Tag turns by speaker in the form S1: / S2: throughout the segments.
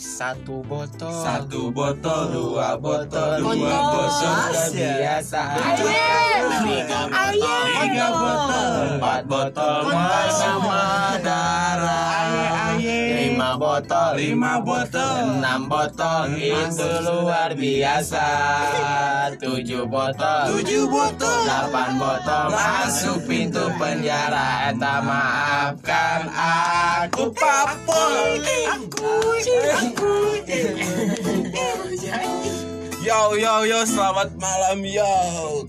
S1: Satu botol
S2: Satu botol, dua botol, dua
S3: Botol.
S2: botol
S1: kebiasaan
S3: Ayem.
S1: ya. Tiga
S3: Ayem.
S1: botol Tiga botol Empat botol
S3: Botol.
S1: bersama darah Lima botol
S2: Lima botol.
S1: Enam botol Itu luar biasa Tujuh botol
S2: Tujuh botol.
S1: Delapan botol Masuk pintu penjara Eta maafkan aku
S2: Papol. Yo yo yo selamat malam yo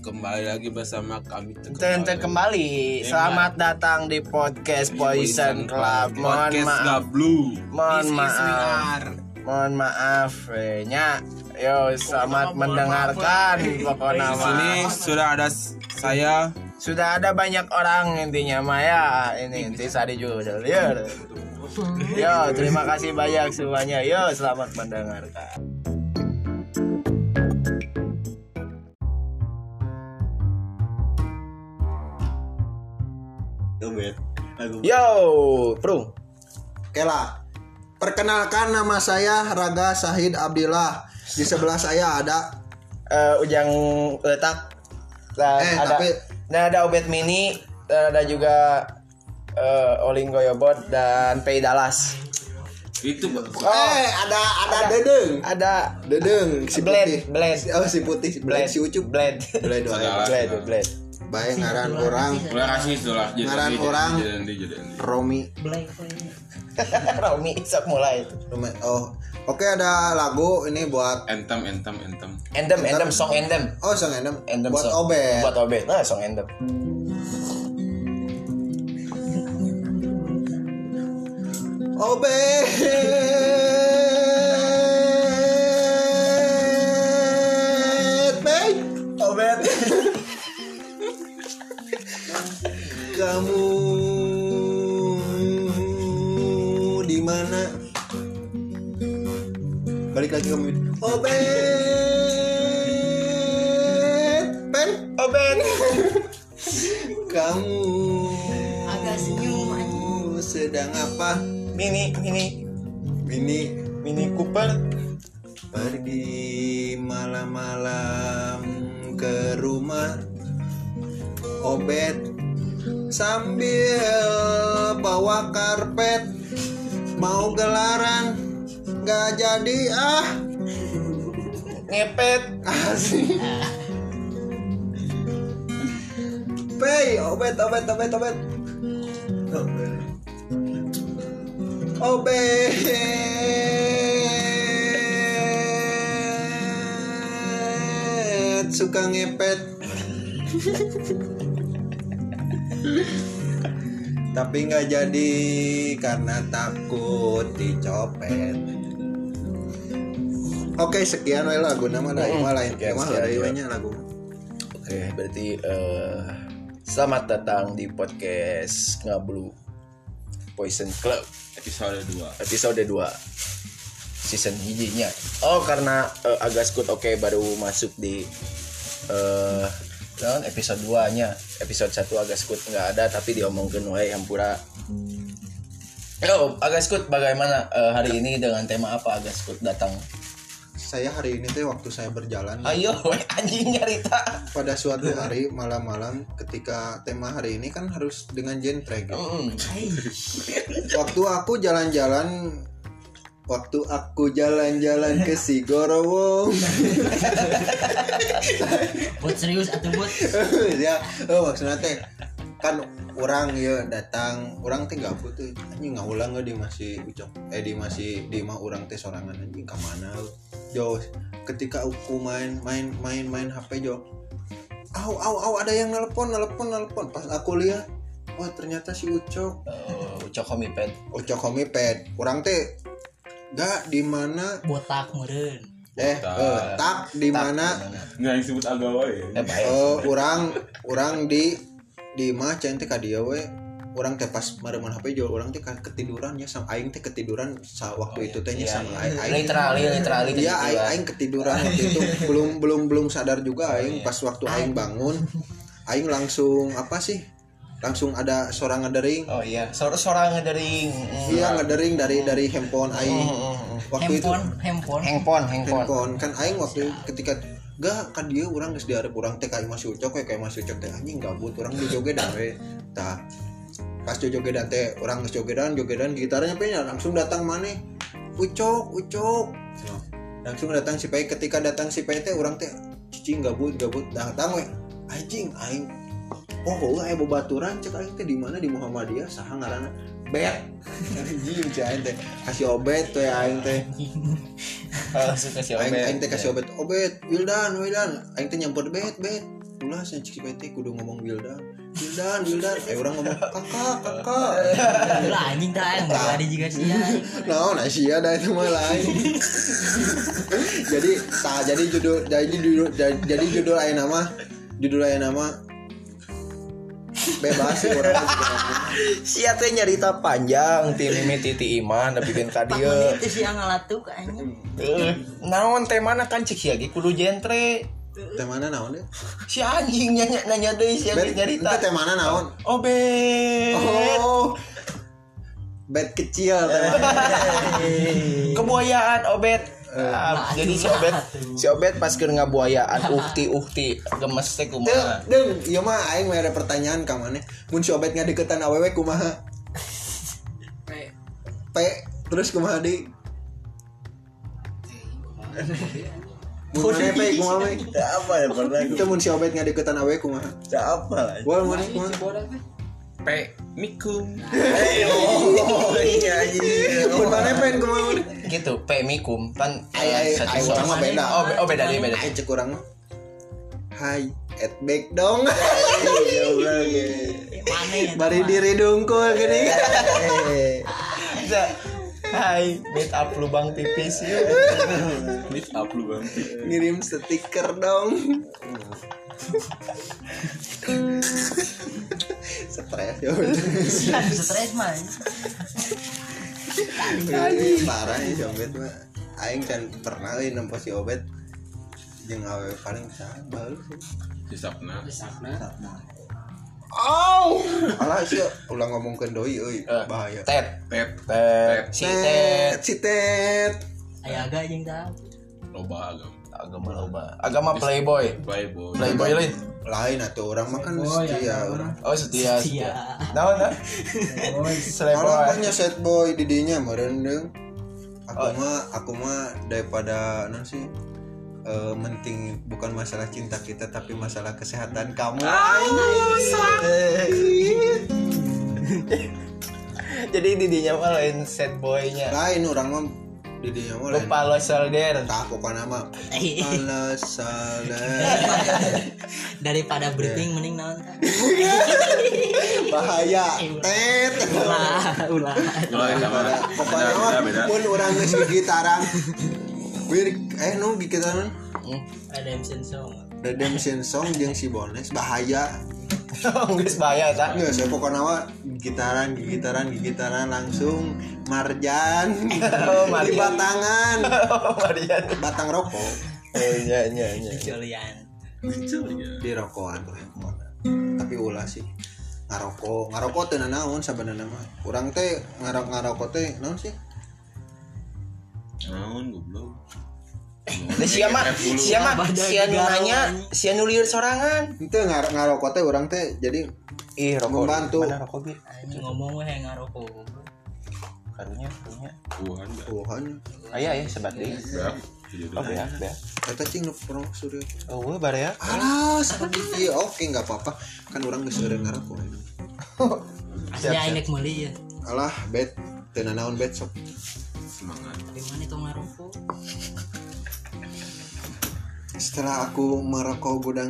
S2: kembali lagi bersama kami
S1: Tentu kembali, selamat datang di podcast Poison Club. Mohon
S2: Podcast
S1: maaf,
S2: Gablu
S1: mohon maaf, mohon maaf, eh, nya. Yo, selamat mendengarkan pokoknya.
S2: Di
S1: mah.
S2: sini sudah ada s- saya
S1: Sudah ada banyak orang intinya Maya Ya, ini inti sari judul. Yo. Yo, terima kasih banyak semuanya. Yo, selamat mendengarkan. Yo, Prung.
S4: Oke lah. Perkenalkan nama saya Raga Sahid Abdillah. Di sebelah saya ada
S1: Eh, ujang letak Nah,
S4: Eh,
S1: ada
S4: tapi-
S1: nah, ada Obet Mini, dan ada juga eh, Oling Goyobot dan Pei Dallas.
S2: itu
S1: Oh.
S4: Eh, ada ada Dedeng.
S1: Ada
S4: Dedeng si
S1: Blade,
S4: putih.
S1: Blade.
S4: Oh, si putih, si Blade, si Ucup.
S1: Blade.
S4: Blade
S2: Saya-
S4: doang.
S1: Blade, Blade.
S4: Baik ngaran orang
S2: mulai kasih itulah jadi
S4: Ngaran
S2: jadi-
S4: orang.
S2: jadi jadi jadi
S4: Romi.
S1: Romi sok mulai itu.
S4: Romi- Oh. Oke, ada lagu ini buat
S2: entem entem entem
S1: Endem, endem, song endem.
S4: Oh, sang Endem.
S1: Endem
S4: buat
S1: song.
S4: Obet.
S1: Buat obet. Nah, song endem.
S4: Obet. Baik.
S1: Obet.
S4: kamu di mana balik lagi kamu obet pen
S1: Obet.
S4: kamu
S3: Agak senyum aja.
S4: sedang apa
S1: Mini, mini,
S4: ini
S1: mini Cooper.
S4: pergi malam-malam ke rumah obet sambil bawa karpet mau gelaran nggak jadi ah
S1: Ngepet.
S4: asik Pei, obet, obet, obet, obet. Obet. Suka ngepet. Tapi nggak jadi karena takut dicopet. Oke, sekian wae lagu nama lain
S1: Mm-mm.
S4: lain.
S1: Sekian,
S4: Mah
S1: sekian,
S4: ada
S1: sekian.
S4: nya lagu.
S1: Oke, berarti eh, selamat datang di podcast Ngablu Poison Club
S2: episode dua
S1: episode 2 season hijinya. Oh, karena eh, Agas Good Oke baru masuk di eh naon, episode 2-nya. Episode 1 Agas Good nggak ada tapi diomongkeun wae hampura. Yo, Agas Good bagaimana eh, hari ini dengan tema apa Agas Good datang?
S4: saya hari ini teh waktu saya berjalan
S1: Ayo, we, anjing nyarita.
S4: pada suatu hari malam-malam ketika tema hari ini kan harus dengan genre gitu.
S1: Mm.
S4: Waktu aku jalan-jalan waktu aku jalan-jalan ke Sigorowong
S5: buat serius atau buat
S4: ya oh, maksudnya teh kan orang ya datang orang teh gak tuh anjing nggak ulang di masih ucok eh di masih di mah orang teh sorangan anjing ke mana lu? jauh ketika aku main main main main HP jauh au au au ada yang nelpon nelpon nelpon pas aku lihat wah ternyata si ucok
S1: Eh, Ucok Homiped.
S4: ucok homiped orang teh gak di mana
S5: botak meren
S4: eh, eh tak di mana
S2: nggak yang disebut agawa ya
S1: Eh, baik.
S4: Eh, orang orang di di mah cen teh ka dieu we orang teh pas mereuman HP jual orang teh ka ketiduran ya sama aing teh ketiduran sa waktu Oh, itu
S1: Oh,
S4: tehnya
S1: Iya,
S4: sama aing
S1: iya.
S4: aing
S1: literally literally gitu
S4: dia aing,
S1: kejadian.
S4: aing ketiduran waktu itu belum
S1: Oh,
S4: belum belum sadar juga aing pas waktu aing bangun aing langsung apa sih langsung ada seorang ngedering
S1: oh iya sor sorang ngedering
S4: iya ngedering dari dari handphone aing
S1: Oh,
S4: waktu itu
S5: handphone handphone
S1: hengpon hengpon
S4: handphone kan aing waktu ketika gak kan dia orang geus diarep orang teh kayak masih ucok kayak masih ucok teh anjing gabut orang di jogedan we tah pas di jogedan teh orang geus jogedan jogedan gitarnya pengen langsung datang maneh ucok ucok Nah, langsung datang si pai ketika datang si pai teh orang teh cicing gabut gabut datang we anjing aing oh heula aya babaturan cek aing teh di mana di Muhammadiyah saha ngaranna bet anjing cek aing teh kasih obet teh aing teh
S5: Eh,
S1: Oh, suka si Obed.
S4: aing
S1: ya.
S4: aing teh kasih obat obat Wildan Wildan aing teh nyamper bet bet ulah saya cik pete kudu ngomong Wildan Wildan Wildan eh orang ngomong kakak kakak
S5: lah anjing dah yang
S1: Nah.
S5: berlari juga sih ya
S4: naon nah sia da itu mah lain jadi tah jadi judul jadi judul jadi- jadi judul aing nama judul aing nama bebas sih orang mah juga ngomong.
S1: Si Ate nyarita panjang Ti Mimi Titi Iman Tapi bin
S3: Pak
S1: kadieu
S3: Moni itu sih yang ngalatuk kayaknya.
S1: Eh, Naon teh mana kan cik Hyagi kudu jentre
S4: teh mana naon deh
S1: Si anjing nanya nanya deh si
S4: bet
S1: Ate
S4: ente teh
S1: nyarita
S4: mana naon
S1: Obed
S4: oh bet kecil teh mana
S1: Kebuayaan Obed Ah,
S5: Nah,
S1: jadi si Obed si Obed pas keur ngabuayaan ukti ukti gemes teh kumaha
S4: Deng, iya mah aing mere pertanyaan ka maneh. Mun si Obed ngadeukeutan awewe kumaha? P terus kumaha di? Mun mana P kumaha we?
S1: apa ya pernah
S4: Itu mun si Obed ngadeukeutan awewe kumaha?
S1: apa lah
S4: Wal mun kumaha?
S2: Pe Mikum
S1: Oh,
S4: Mun mana P kumaha? mun?
S1: gitu pemikum kan
S4: Ay ay
S1: satu
S4: ay
S1: source.
S4: orang mah beda.
S1: oh, be- oh beda dia beda
S4: Ay cek urang mah. Hai, at back dong. Ya Allah, ge.
S5: mana ya
S4: Bari diri dungkul gini.
S1: Bisa. Hai, meet up lubang pipis yuk.
S2: Meet up lu bang
S4: Ngirim stiker dong. Stres ya udah.
S5: Aduh, stres mah
S4: Parah ya si Obet mah. Aing kan pernah euy nempo si Obet jeung awewe paling saha baheula sih.
S2: Disapna
S4: Alah sih ulah ngomongkeun doi euy bahaya.
S1: Tet,
S2: Tet
S1: tet, si
S4: Tet,
S1: tet.
S4: si Tet.
S5: ayah agak anjing dah
S2: Loba agama
S1: Agama loba. Agama playboy.
S2: Playboy
S1: Playboy lain.
S4: Lain atuh orang mah kan setia orang.
S1: Oh setia.
S5: Setia.
S1: Setia. Naon nah?
S4: Orang
S1: Playboy.
S4: punya set boy di dinya merendeng. Aku mah aku mah daripada non sih eh, menting bukan masalah cinta kita tapi masalah kesehatan kamu.
S1: Jadi didinya mah lain set boynya.
S4: Lain orang mah di dinya mah lain.
S1: Lupa lo solder.
S4: Tak pokoknya mah.
S5: Eh,
S4: Alasan
S5: daripada
S1: Iya.
S5: breathing mending naon tah
S4: bahaya. Tet.
S5: ulah ulah
S2: Loba agama
S4: Daripada-
S2: Beda
S4: Pokoknya
S2: beda
S4: mah
S2: beda
S4: pun orang geus gitaran. Wir eh nu gitaran
S5: redemption song
S4: Redemption Song jeung si Bones bahaya.
S1: Geus bahaya tak?
S4: Nggak, saya pokoknya mah gitaran, gitaran, gitaran langsung marjan,
S1: Oh,
S4: di
S1: Marian.
S4: batangan,
S1: Oh, Marian.
S4: batang rokok,
S1: Oh iya iya iya.
S5: Julian
S4: di rokokan lah. Tapi ulah sih ngarokok, ngarokok teh naon sebenarnya mah. Urang teh ngarok ngarokok teh naon sih?
S2: Naon goblok
S1: Nah, sia mah, sia mah, sia nu nanya, sia nu lieur sorangan.
S4: Itu ngarok ngarokok teh urang teh jadi
S1: Ih, rokok.
S4: Membantu.
S1: Mana rokok Bi?
S5: anjing ngomong we hayang ngarokok
S1: Karunya punya.
S2: Tuhan dah
S4: Tuhan,
S1: Aya ya sebat deui.
S2: Beak. Jadi
S1: Oh, beak, beak.
S4: kata cing nu perang surya.
S1: Oh, we bareak.
S4: Alas, iya oke nggak apa-apa. Kan orang geus seureun ngarokok.
S5: asli aing dek meuli ya
S4: Alah, bet, teu naon bet sok.
S2: Semangat
S5: dari mana tong ngarokok
S4: setelah aku merokok gudang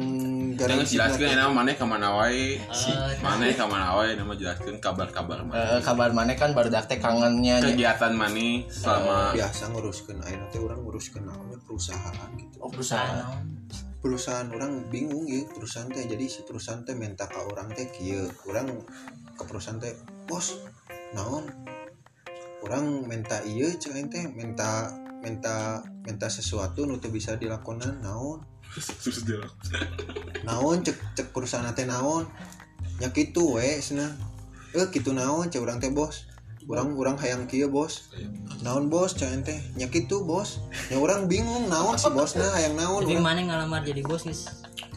S2: Jangan
S4: garam
S2: jelaskan ya
S4: ciprat,
S2: nama mana kemana wae
S1: Ah,
S5: Eh,
S2: Mana kemana wae nama jelaskan kabar-kabar
S1: Eh,
S2: mana
S1: kabar mana kan baru teh kangennya nya.
S2: Kegiatan mana
S1: Ah,
S2: selama
S1: iya.
S4: biasa nguruskan akhirnya teh orang nguruskan awalnya perusahaan gitu
S1: Oh, perusahaan.
S5: sana
S4: perusahaan orang bingung ya perusahaan teh jadi si perusahaan teh minta ke orang teh kieu orang ke perusahaan teh bos naon orang minta iya cek aing teh minta minta minta sesuatu nu teu bisa dilakonan naon
S2: Terus dia
S4: naon cek cek perusahaan teh naon nya gitu we cenah eh gitu naon cah urang teh bos urang urang hayang kieu bos naon bos cah ente nya gitu bos nya urang bingung naon si bosna hayang naon
S1: Nah.
S5: Tapi
S4: urang-
S5: mana ngalamar jadi bos guys?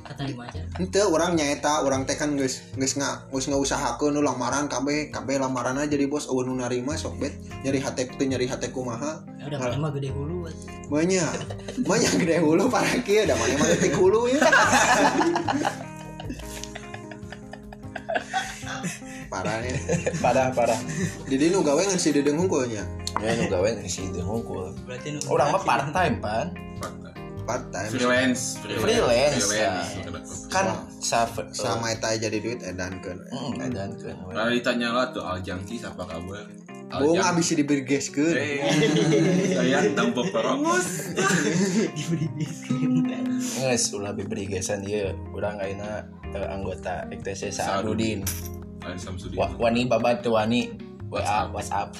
S5: Kata di aja.
S4: Ente orang nyaeta orang teh kan geus geus nga geus ngausahakeun nu lamaran kabeh kabeh lamaran aja di bos eueun nu narima sok bet nyari hate teu nyari hate kumaha
S5: Ya
S1: Nah.
S5: udah paling mah gede hulu. aja.
S4: banyak banyak gede hulu parah kieu da mana mana tik hulu ya parah nih
S1: parah parah
S4: jadi nu gawe ngan si dedeng hungkulnya
S1: ya nu gawe di situ hungkul
S5: Berarti nu-
S1: orang mah part time pan
S4: part time
S2: freelance
S1: Freelance,
S2: freelance
S1: ya. kan sa Mm,
S4: sama eta jadi duit edankeun
S1: dan
S2: Lalu ditanya lah tuh Al Jangki siapa kabar Al
S4: Bohong
S2: Jangki.
S4: abis dibergeskeun
S2: Eh, saya tanpa perongos
S5: Diberi biskin.
S1: nges ulah biberi gesan dia urang ayeuna eh, anggota ETC Saadudin
S2: Lain Samsudin
S1: Wa- wani babat teu wani WA WhatsApp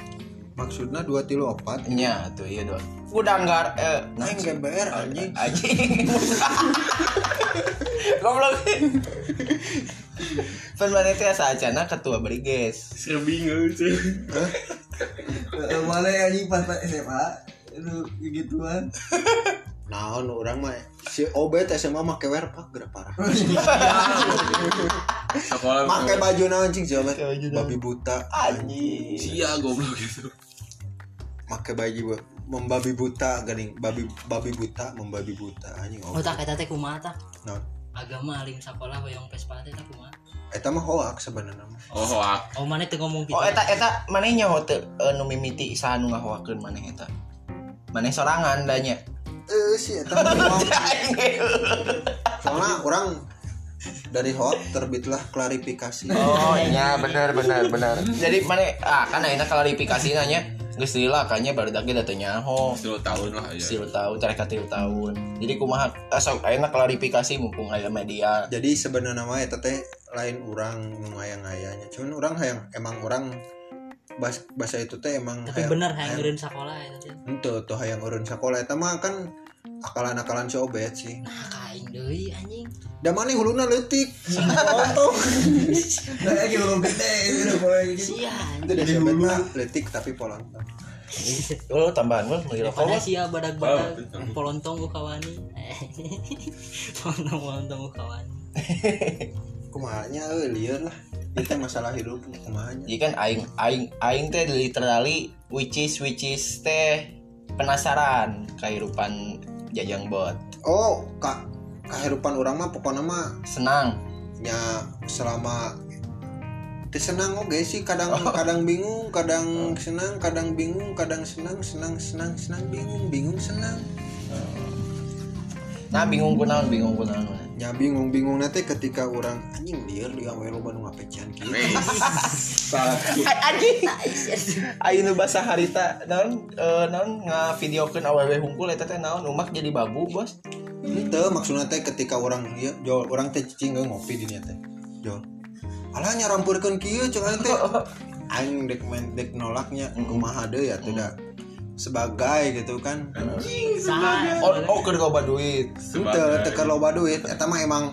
S4: maksudnya dua tilu opat
S1: nya tuh ieu doang udah nggar eh
S4: Neng GBR anjing
S1: anjing goblok Pan mana teh saacana ketua Briges.
S2: Serbingung sih
S6: Mana yang Eh, ya, anjing pas SMA lu gituan.
S4: Naon orang mah si Obet SMA mah kewer pak gerak parah.
S2: Sekolah
S4: Make baju naon cing si Obet?
S1: Make baju naon?
S4: Babi buta.
S1: Anjing.
S2: Sia goblok gitu
S4: Make baju bu- membabi buta garing babi babi buta membabi buta anjing Nah,
S5: Oh
S4: Obet.
S5: tak kata teh kumaha tah?
S4: Naon?
S5: Agama aling sekolah hoyong Vespa teh tah kumaha?
S4: Eta mah hoax sebenarnya. mah.
S2: Oh hoak
S5: Oh mana teh ngomong gitu?
S1: Oh eta eta maneh nyaho teu eh, nu mimiti saha nu ngahoakeun maneh eta. Maneh sorangan da nya.
S4: Eh si eta mah hoax. Soalnya orang dari hoax terbitlah klarifikasi.
S1: Oh iya benar benar benar. Jadi mana ah kan ayeuna klarifikasi nanya geus lila kanya baru dage da teu nyaho.
S2: Sepuluh tahun lah ya
S1: Silu tahu tereka tilu tahun. Jadi kumaha ah, sok ayeuna klarifikasi mumpung aya media.
S4: Jadi sebenarnya mah eta teh lain orang nu ngayang-ngayangnya. Cuman orang hayang emang orang bas- bahasa itu teh emang
S5: Tapi
S4: hayang-
S5: bener hayang
S4: hayang-
S5: ngirim sekolah eta ya, teh.
S4: Itu tuh hayang urun sekolah eta mah kan akalan-akalan si Obet sih.
S5: Nah kaing deui anjing.
S4: Da mana huluna leutik. Potong.
S6: Nah, kayak gitu gede
S4: eh,
S6: gitu boleh gitu.
S5: Sia
S4: Itu
S5: anjing.
S4: da si Obet mah leutik tapi polontong.
S1: Lo tambahan lo lagi lokal.
S5: Pada sia
S2: Oh,
S5: ya, badak-badak
S2: betul.
S5: polontong ukawani. Polontong ukawani.
S4: Kumaha nya euy lieur eh, lah. Itu teh masalah hidup kumaha nya.
S1: Jadi kan aing aing aing teh literally which is which is teh penasaran kehidupan jajang bot.
S4: Oh, ka kahirupan urang mah pokona mah
S1: Senang.
S4: nya selama teu senang oge sih kadang kadang bingung, kadang senang, kadang bingung, kadang senang, senang, senang, senang, bingung, bingung, senang.
S1: Nah bingung kunaon bingung kunaon. we.
S4: Ya bingung bingung nanti ketika orang anjing liar dia welo banu ngapecian kieu.
S5: Nah, iya,
S1: Ayeuna bahasa harita naon eh, naon ngavideokeun awewe hungkul eta teh naon umak jadi babu bos.
S4: Itu maksudnya teh ketika orang dia jol orang teh cicing gak ngopi di nya teh. Jol. Alah nyarampurkeun kieu cenah teh. Aing dek men dek nolaknya kumaha deui ya teh da. Sebagai gitu kan.
S5: Saha?
S1: Oh, oh keur loba duit.
S4: Itu teka loba duit eta mah emang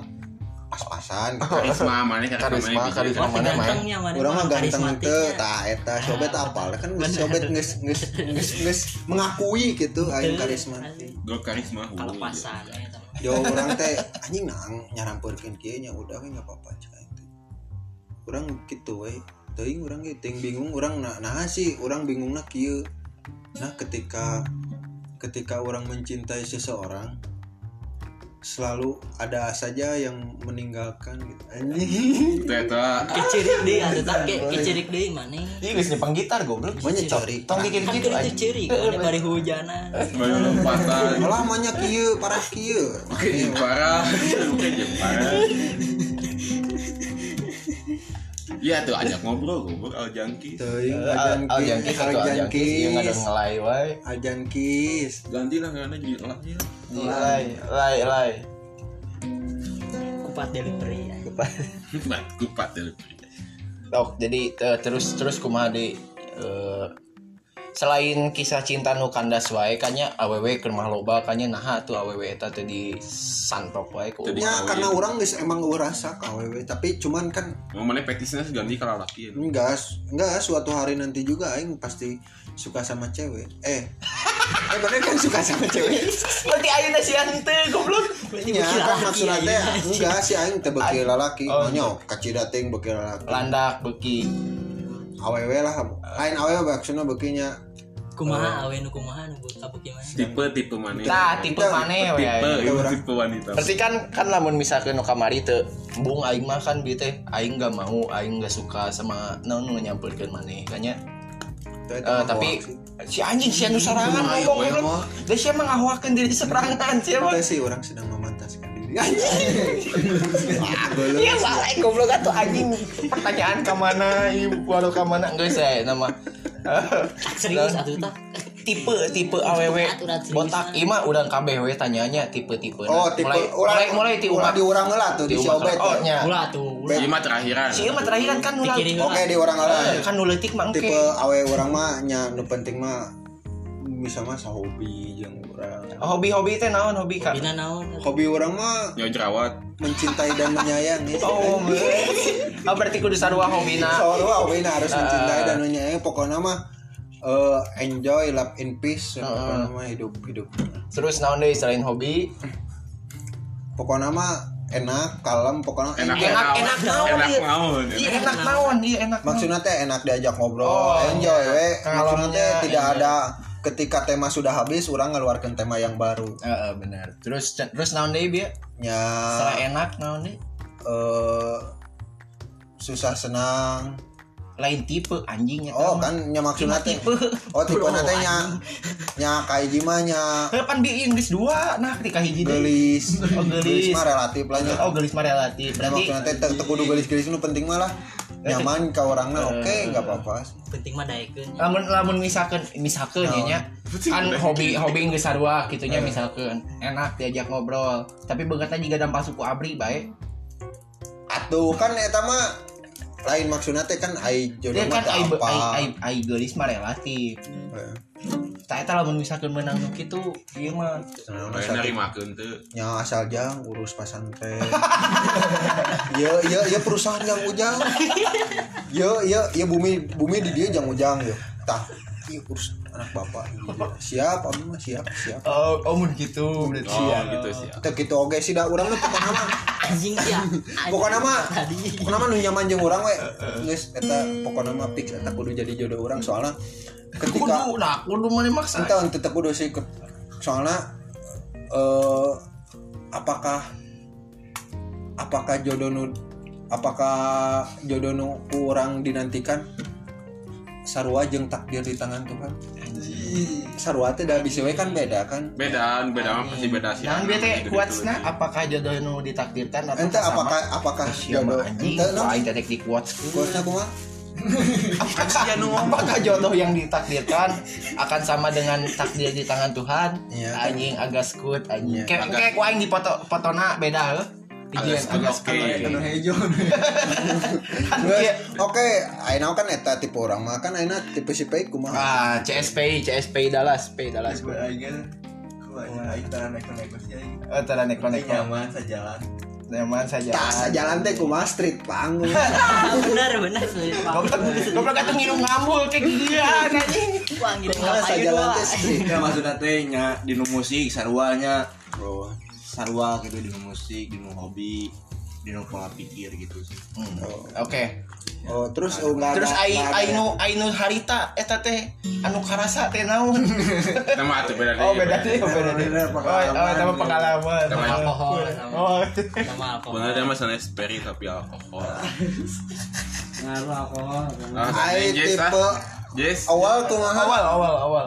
S4: pas-pasan gitu.
S2: Karisma mana
S1: Karisma, karisma
S5: Tapi
S1: mana main.
S5: gantengnya mana?
S4: Urang mah ganteng teu
S5: karismatiknya.
S4: tah eta sobet apal kan geus
S5: Bener.
S4: sobet geus geus geus geus mengakui gitu aing karismatik.
S2: Gue karisma ya. hulu.
S5: Kalau pasan eh, eta.
S4: Yo orang teh anjing nang nyarampurkeun kieu nya udah we enggak apa-apa cai teh. Urang kitu we. Teuing urang ge teuing bingung urang nah, nah sih urang bingungna kieu. Nah ketika ketika orang mencintai seseorang selalu ada saja yang meninggalkan gitu. Anjing.
S2: Itu ah, eta
S5: Kecirik deui atuh tah ke- kecirik deui maneh.
S1: Iya guys nyepang gitar goblok.
S4: Banyak cari.
S1: Tong bikin
S5: Kan
S1: gitu
S5: keur
S1: aja.
S5: itu cirik ada bari hujanan.
S2: baru lompatan.
S4: Malah banyak kieu parah kieu.
S2: Oke, jeung parah. Oke, jeung parah. Iya tuh ajak ngobrol goblok Al Jangki.
S4: Teuing ajan
S1: Al
S4: kieu,
S1: jangki satu al
S4: ajan
S1: jangki yang ada
S4: kis.
S1: ngelai wae.
S4: Ajan kis.
S2: Ganti lah karena jadi lah. iya.
S1: Ngelai, lai, lai.
S5: Kupat delivery. ya.
S2: Nah, Kupat, kupat deh.
S1: Oh, Tok, jadi eh, terus terus kumaha di eh, selain kisah cinta nu kandas wae kanya aww ke rumah loba kanya naha tuh aww eta tuh di santok wae ku
S2: Jadi-
S1: urang.
S4: Ya, karena orang geus emang ngerasa KWW tapi cuman kan
S2: Mau mana petisnya ganti kalau laki.
S4: enggak enggak suatu hari nanti juga aing pasti suka sama cewek eh eh bener kan suka sama
S1: Iya,
S4: cewek
S1: berarti ayeuna si henteu goblok
S4: ya
S1: iya,
S4: kan maksudnya teh enggak sih aing teh beki lalaki
S1: Oh,
S4: nyo kaci dating beki lalaki
S1: landak beki
S4: awewe lah lain awewe maksudnya bekinya
S5: kumaha
S4: Oh.
S5: awe nu kumaha nu kabuk gimana
S2: Tipe tipe mana?
S1: nah tipe maneh
S2: tipe
S1: wae
S2: itu tipe wanita.
S1: Berarti kan kan lamun misalkan nu kamari teu bung aing mah kan bi teh aing gak mau aing gak suka sama naon nu nyampurkeun maneh kanya Eh,
S4: Teh, teh mah
S1: tapi
S4: hoax
S1: si
S4: sih.
S1: anjing si anu sorangan ngomong belum dia sih emang ngahuakeun diri serangan sih emang
S4: Teh sih orang sedang memantaskan diri anjing Wah, golong.
S1: Iya salah eh, goblok atuh anjing pertanyaan ke mana ibu waduh ke mana enggak sih nama
S5: Tak serius atuh
S1: ah.
S5: tak
S1: tipe tipe aww botak ima udah kabeh we tanyanya tipe tipe Nah,
S4: oh tipe
S1: mulai mulai mulai ti umat
S4: di orang lah tuh
S1: ti
S4: di si
S1: umat
S4: obet
S1: oh
S4: teh.
S1: nya
S5: ulah tuh ulah
S2: Iya mah terakhiran.
S1: si ima terakhir kan kan ulah
S5: Pikirin
S4: oke di orang lah
S1: Eh, kan nuletik mah
S4: tipe
S1: oke
S4: awe orang mah nya nu penting mah bisa mah hobi jeung urang
S1: hobi hobi teh naon hobi kak
S5: bina naon
S4: hobi orang mah
S2: Nyawa jerawat.
S4: mencintai dan menyayangi
S1: oh
S4: Kan?
S1: me- ah berarti kudu sarua hobina
S4: soal lu hobi nah harus mencintai
S1: Ah.
S4: dan menyayangi pokoknya mah eh, enjoy love in peace
S1: Ah.
S4: pokoknya mah hidup hidup
S1: terus naon deui selain hobi
S4: pokoknya mah enak kalem pokoknya
S2: Enak
S4: enjoy.
S1: Iya, Enak-
S2: mau.
S1: enak naon,
S2: Enak
S1: iya.
S2: mau.
S1: Iya enak naon, iya enak. naon.
S4: maksudnya teh enak diajak ngobrol
S1: Oh,
S4: enjoy we
S1: Kalau
S4: maksudnya teh
S1: punya,
S4: tidak
S1: enjoy.
S4: ada ketika tema sudah habis orang ngeluarkan tema yang baru
S1: Heeh, benar. Terus terus naon deui bieu?
S4: nya
S1: Salah enak naon deui?
S4: eh, susah senang
S1: Lain tipe anjingnya.
S4: oh kan nya maksudnya teh
S1: tipe.
S4: oh tipe
S1: Bro,
S4: nanti nya nya kayak gimana nya
S1: Kapan bi Inggris dua nah ketika hiji deui.
S4: gelis
S1: Oh, gelis.
S4: mah relatif lah nya
S1: Oh gelis mah relatif.
S4: Ya,
S1: Berarti
S4: maksudnya teh teu teu kudu gelis-gelis nu penting malah
S1: Eh,
S4: nyaman ka orangna oke nggak apa-apa sih.
S5: penting mah daekeun
S1: lamun lamun misalkan misalkan
S4: Oh.
S1: ya nya kan hobi hobi geus sarua kitu
S4: Eh.
S1: nya misalkan enak diajak ngobrol tapi beungeutna jiga dampak suku abri bae
S4: atuh kan eta mah lain maksudnya teh kan ai jodoh
S1: dia
S4: mah Eh,
S1: kan
S4: teu
S1: ai
S4: apa
S1: ai ai, ai geulis mah relatif
S4: Heeh.
S1: tak eta lamun misalkan menang nu kitu ieu mah
S4: Nah,
S2: Kayak
S4: asal-
S2: narimakeun teu.
S4: nya asal jang urus pesantren ya ya ya perusahaan yang ujang ya ya ya bumi bumi di dia jang ujang ya tah iya urus anak bapak siap abis mah siap siap
S1: oh oh mun kitu berarti
S2: Oh
S1: ya.
S2: gitu sih. ya.
S4: teu gitu oge sih da urang mah pokokna mah
S5: anjing sih ah.
S4: pokokna mah
S5: tadi
S4: pokokna mah nu nyaman jeung urang we geus eta pokokna mah fix eta kudu jadi jodoh urang soalnya ketika
S1: kudu nah kudu mana maksa
S4: entah tetap udah sih ke- soalnya eh, apakah apakah jodoh nu apakah jodoh nu kurang dinantikan sarua jeung takdir di tangan Tuhan sarua teh da bisi we kan beda kan
S2: Beda, beda mah pasti beda sih.
S1: Nah, bete
S2: Gitu-gitu
S1: kuatsna
S2: sih.
S1: apakah jodoh nu ditakdirkan atau
S4: ente apakah apakah
S1: siapa
S4: jodoh
S1: anjing?
S4: ente no
S1: Wah, aing tetek di quotes.
S4: kuatna kumaha
S1: Apakah apakah jodoh yang ditakdirkan akan sama dengan takdir di tangan Tuhan?
S4: Iya.
S1: Anjing agak skut anjing.
S4: Iya.
S1: Kayak
S2: Agak-
S1: kayak aing di foto fotona beda heuh.
S2: Agak agak oke.
S6: Anu hejo.
S1: Iya.
S4: oke ayeuna kan eta tipe orang mah kan ayeuna tipe si peik kumaha
S1: Ah, CSPI, CSPI Dallas, PI Dallas.
S4: Iya,
S6: Gue aja.
S1: Iya.
S6: Gue aja tara neko-neko sih aing.
S1: Eh, tara
S6: Tapi
S1: neko-neko.
S6: nyaman sejalan.
S1: Nyaman saja.
S4: tas jalan teh kumaha street panggung
S5: benar benar sulit
S1: Goblok, goblok atuh ngilu ngambul kayak gigian anjing.
S5: Wah, gini
S4: Kumaha
S5: ngapain
S4: sajalan
S5: doa.
S4: teh street
S6: Ya maksudnya teh nya di nu musik sarwanya
S4: Bro.
S6: sarwa gitu di nu musik, di nu hobi, di nu pola pikir gitu sih.
S4: Oh.
S1: Oke.
S4: Oh, terus oh, nggak
S1: terus
S4: ada-
S1: ai
S4: nggak ada
S1: ai
S4: ya?
S1: nu ai nu harita eta teh anu karasa teh naon
S2: Kita mah atuh beda
S1: oh beda deh oh beda deh
S6: Beda,
S1: oh
S6: pengalaman.
S1: oh sama pengalaman
S2: Sama
S5: alkohol
S1: oh
S5: sama alkohol
S2: Benar dia mah sana speri tapi alkohol.
S6: Ngaruh alkohol.
S2: Ah,
S4: Ai
S2: Jess, ah.
S4: tipe
S2: Jess,
S1: Oh.
S4: awal kumaha?
S1: awal awal awal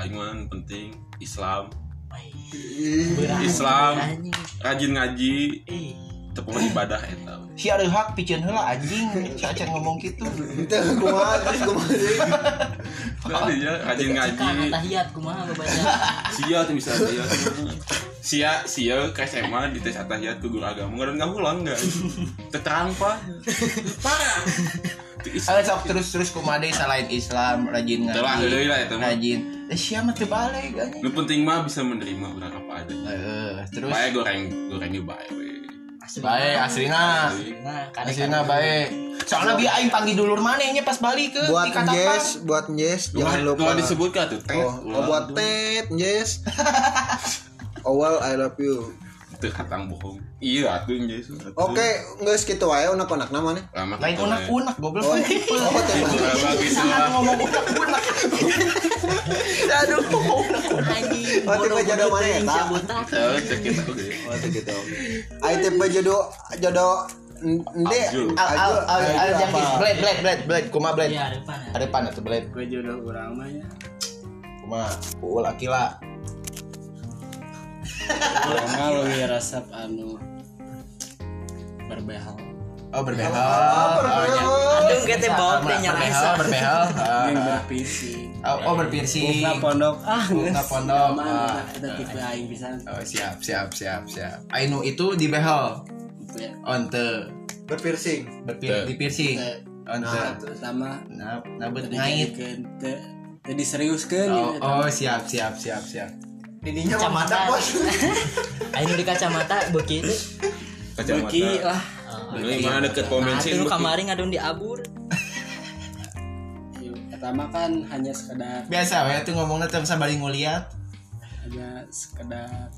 S2: aing mah penting Islam.
S5: Berat.
S2: Islam.
S5: Anjing.
S2: Rajin ngaji,
S5: Ih,
S2: tepung ibadah eh, eta.
S1: si ada hak piceun heula anjing si acan ngomong gitu
S4: Itu kumaha terus kumaha sih?
S2: Nah, dia rajin
S5: Cekak
S2: ngaji.
S5: tahiyat kumaha babaca.
S2: Sia tuh bisa sia. sia sia ke SMA di tes atas ya tuh guru agama nggak nggak ulang nggak terang pak parah Tuh, is-
S1: Ayo sok terus terus kumade selain Islam rajin ngaji.
S2: Telah, heuleuy lah eta mah.
S1: Rajin. Eh siapa teu balik anjing.
S2: lu penting mah bisa menerima benar apa ada
S1: Heeh, terus
S2: baik goreng gorengnya baik we.
S1: bae asrina.
S5: Nah, kadek-
S1: Asrina bae. Soalnya bi aing panggil dulur maneh nya pas balik ke
S4: buat
S1: di Katapang.
S4: Jess buat Jess
S2: Lu
S4: jangan
S2: mah- lu
S4: lupa
S2: mah disebut kah tuh
S4: oh, oh, buat Ted Jess Owal I love you
S2: tuh katang bohong iya atuh jadi surat
S4: oke nggak segitu aja unak-unak nama nih
S2: lama
S1: Lain
S2: kita, we.
S1: unak-unak goblok.
S4: oh oh tipe.
S2: Itu lah, bagi semua
S1: Ngomong unak-unak. Aduh.
S5: Anjing.
S4: Oh, tipe jodoh mana ya,
S5: Insya
S4: Pak?
S5: buta.
S2: Eh, cek kita oke
S4: oh gitu ayo tipe jodoh jodoh nanti
S2: Abjul.
S1: Al al al al
S4: Abjul
S1: jangkis.
S4: apa?
S1: Blade blade blade blade kumaha blade.
S5: Iya, depan. ya.
S1: Ada pan atau blade.
S6: gue jodoh orang mah ya
S1: Kumaha? Uul akila.
S6: kalau ya rasap anu berbehal
S1: Oh berbehal.
S5: Aduh, kita bawa teh nyamesa.
S1: Berbehal, berbehal.
S6: yang
S1: Oh, Ah,
S6: berpisi
S1: ah. Oh, oh berpiercing.
S6: Buka pondok ah
S1: Buka pondok, ah.
S6: kita tipe aing pisan
S1: Oh, siap, siap, siap, siap. Ainu itu di behel.
S6: Itu ya
S1: Onte.
S4: berpiercing
S1: Berpir
S2: Te.
S1: di piercing.
S4: Nah.
S1: Onte.
S6: terutama
S1: Nah, nabut ngait.
S6: ngait tadi serius kan
S1: Oh, oh, siap, siap, siap, siap.
S4: ininya mantap
S5: Kacamata.
S4: bos
S5: Ayo di kacamata begitu.
S6: Beki lah
S2: Ini mana deket pom
S1: Nah,
S2: bensin
S5: Atuh
S2: Beki.
S5: kemarin ngadon diabur.
S6: Yuk, pertama kan hanya sekedar
S1: Biasa, ya tuh ngomongnya tuh sambil nguliat.
S6: hanya sekedar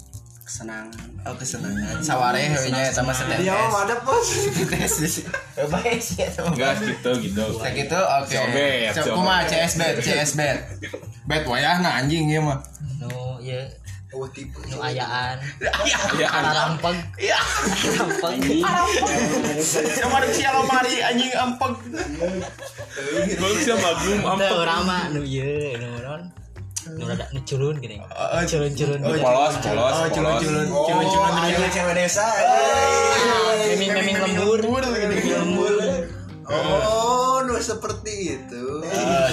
S6: kesenangan
S1: Oh, kesenangan. Saware hewenya sama
S4: dia mah
S1: setetes.
S4: mantap bos
S1: Setetes. Baik sih sama.
S2: Gas gitu gitu.
S1: Kayak gitu, oke.
S2: Sobet,
S1: Cok,
S2: sobet.
S1: kumaha CS bet, CS bet. Bet wayahna anjing ieu mah.
S5: Nu ya
S4: oh tipe
S5: nu ayaan.
S2: Ya
S5: Arampeng.
S1: Iya.
S5: Arampeng.
S1: Sama ada siang lemari anjing ampeg.
S2: Belum siapa belum
S5: Teu
S2: ampek.
S5: urang mah nu ieu nu non. Nu rada nu culun gini.
S1: Oh,
S5: Culun-culun.
S1: Oh,
S2: Polos polos
S1: Oh, culun
S2: polos.
S1: culun
S4: oh
S1: culun culun
S4: aja cewek desa
S5: Meming-meming lembur. Meming
S4: gitu.
S5: lembur.
S4: oh nu seperti itu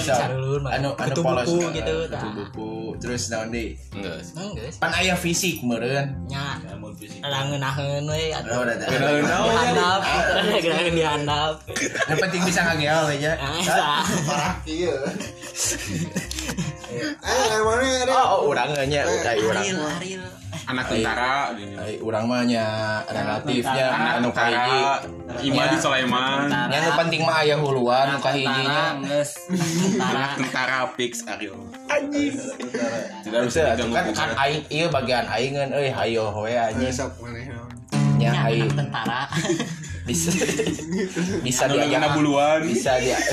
S5: Carulun mah.
S1: Eh, anu anu
S5: Kutu
S1: polos
S5: buku
S1: eh,
S5: gitu,
S1: kutu
S5: tah.
S1: buku terus naon deui
S2: Enggak.
S5: Enggak.
S1: pan aya fisik meureun
S5: Nya
S6: namun fisik
S5: langenaheun we
S1: Oh,
S5: atuh.
S1: udah, udah.
S5: Dihandap, gerangan dihandap.
S1: yang penting bisa ya. ngageol aja
S5: Nah,
S2: Ah.
S5: sah.
S4: parah iya eh emangnya ada
S1: oh oh, urang nya udah urang
S5: Aril, Aril.
S2: Anak tentara. gini.
S1: Ai, urang mah nya relatifnya
S2: Iya. Anak
S1: anu
S2: tentara.
S1: kahiji
S2: Imadi
S1: Iya.
S2: Sulaiman.
S1: nya nu anu penting mah aya huluan nu kahiji
S6: Tentara,
S1: nya
S6: nges.
S2: Anak tentara fix Ariel. Tidak
S1: Terus,
S2: bisa diganggu.
S1: kan kan
S2: gugat.
S1: aing ieu bagian aingan euy hayo we
S5: oh.
S1: anjing
S4: sok Eh, mana
S1: nya
S2: Nah.
S5: Nya
S1: aing
S5: anak tentara.
S1: bisa bisa
S2: Anu
S1: diajak
S2: kena buluan.
S1: bisa dia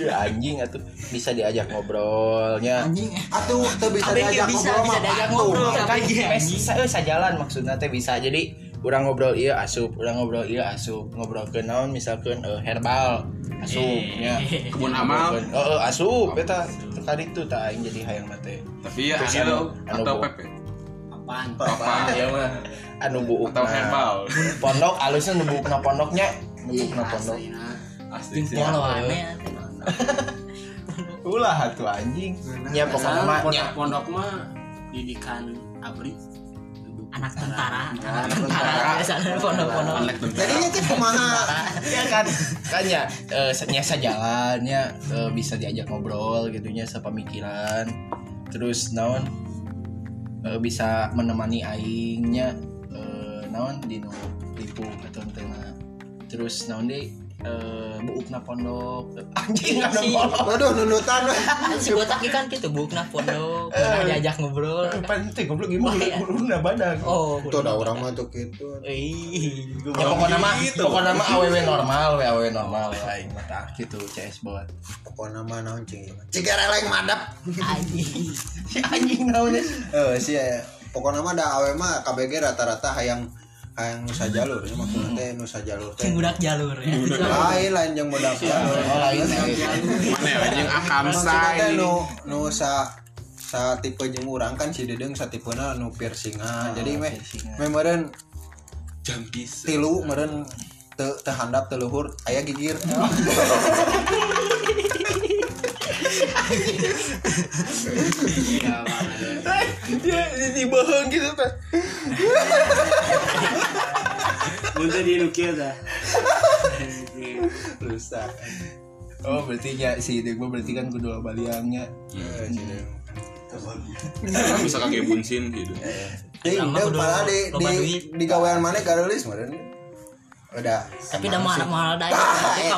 S1: Ya, anjing atuh bisa diajak ngobrolnya
S4: atuh teu bisa
S5: Kabeh
S4: diajak
S5: bisa
S4: ngobrol
S5: bisa
S4: mah
S5: diajak
S4: patuh.
S5: ngobrol
S1: kan
S5: kabeh ge,
S1: pes
S5: anjing.
S1: saya jalan maksudnya teh bisa jadi orang ngobrol iya asup orang ngobrol iya asup ngobrol ke naon misalkan eh, herbal
S5: Eh.
S1: asupnya
S2: Kebun amal.
S1: oh eh, asup eta tertarik tuh tak aing jadi hayang mate
S2: Tapi ya
S1: Terus
S2: Ariel
S1: anu- anu
S2: atau
S1: bu-
S2: Pepe.
S6: apaan
S2: Apa?
S1: ya mah anu buuk
S2: Ah, Atau herbal.
S1: pondok alusnya nu buuk na pondoknya nu buuk na pondok
S2: Asli sih.
S5: Jeung poloane
S1: ulah tuh anjing ya pokoknya
S6: Pokoknya
S1: mah nya
S6: pondok, pondok mah didikan abri
S5: anak tentara, anak tentara biasanya pondok-pondok.
S2: Anak tentara.
S4: jadinya teh kumaha
S1: ya kan kan ya eh, nyasa jalannya eh, bisa diajak ngobrol gitunya sepemikiran terus naon eh, bisa menemani aingnya eh, naon di nu lipu atau tengah terus naon deh eh, buuk na pondok anjing ada
S5: Si-
S1: pondok
S4: waduh nunutan we.
S5: Si botak ikan gitu bukna pondok, pernah diajak ngobrol.
S1: penting goblok gimana udah badan
S5: Oh,
S4: itu ada orang mah tuh gitu
S5: Ih, gua-
S1: ya pokoknya mah pokoknya mah aww normal we aww normal aing mah tah, gitu cs buat
S4: pokoknya mah naon cing ciga releng madep
S5: anjing.
S1: si anjing naonnya
S4: eh sih ya pokoknya mah da awe mah KBG rata-rata hayang hayang nusa jalur ya maksudnya teh nusa jalur teh
S5: Cing budak jalur ya.
S4: lain lain yang modal jalur
S1: oh lain lain
S2: Mana ya anjing akam
S4: maksudnya teh
S2: say.
S4: nu nu sa sa tipe jeung urang kan si dedeng sa tipena nu
S5: Ah,
S4: piercingan jadi meh
S1: piercingan.
S4: meh meureun
S2: Jangkis.
S4: tilu meureun teu teu handap teu luhur aya gigir
S1: dia dibahang gitu teh
S6: Nanti di nukil dah.
S1: rusak oh berarti ya si ide gue berarti kan kudu baliangnya
S2: Emang bisa kakek bunsin gitu
S4: Jadi
S5: Lama
S4: dia
S5: kudu
S4: malah di
S5: loba
S4: di
S5: duit.
S4: di gawean mana garelis meureun. Udah.
S5: Tapi udah mahal mahal ya. daya.
S4: Tah,
S5: Tapi
S4: eta.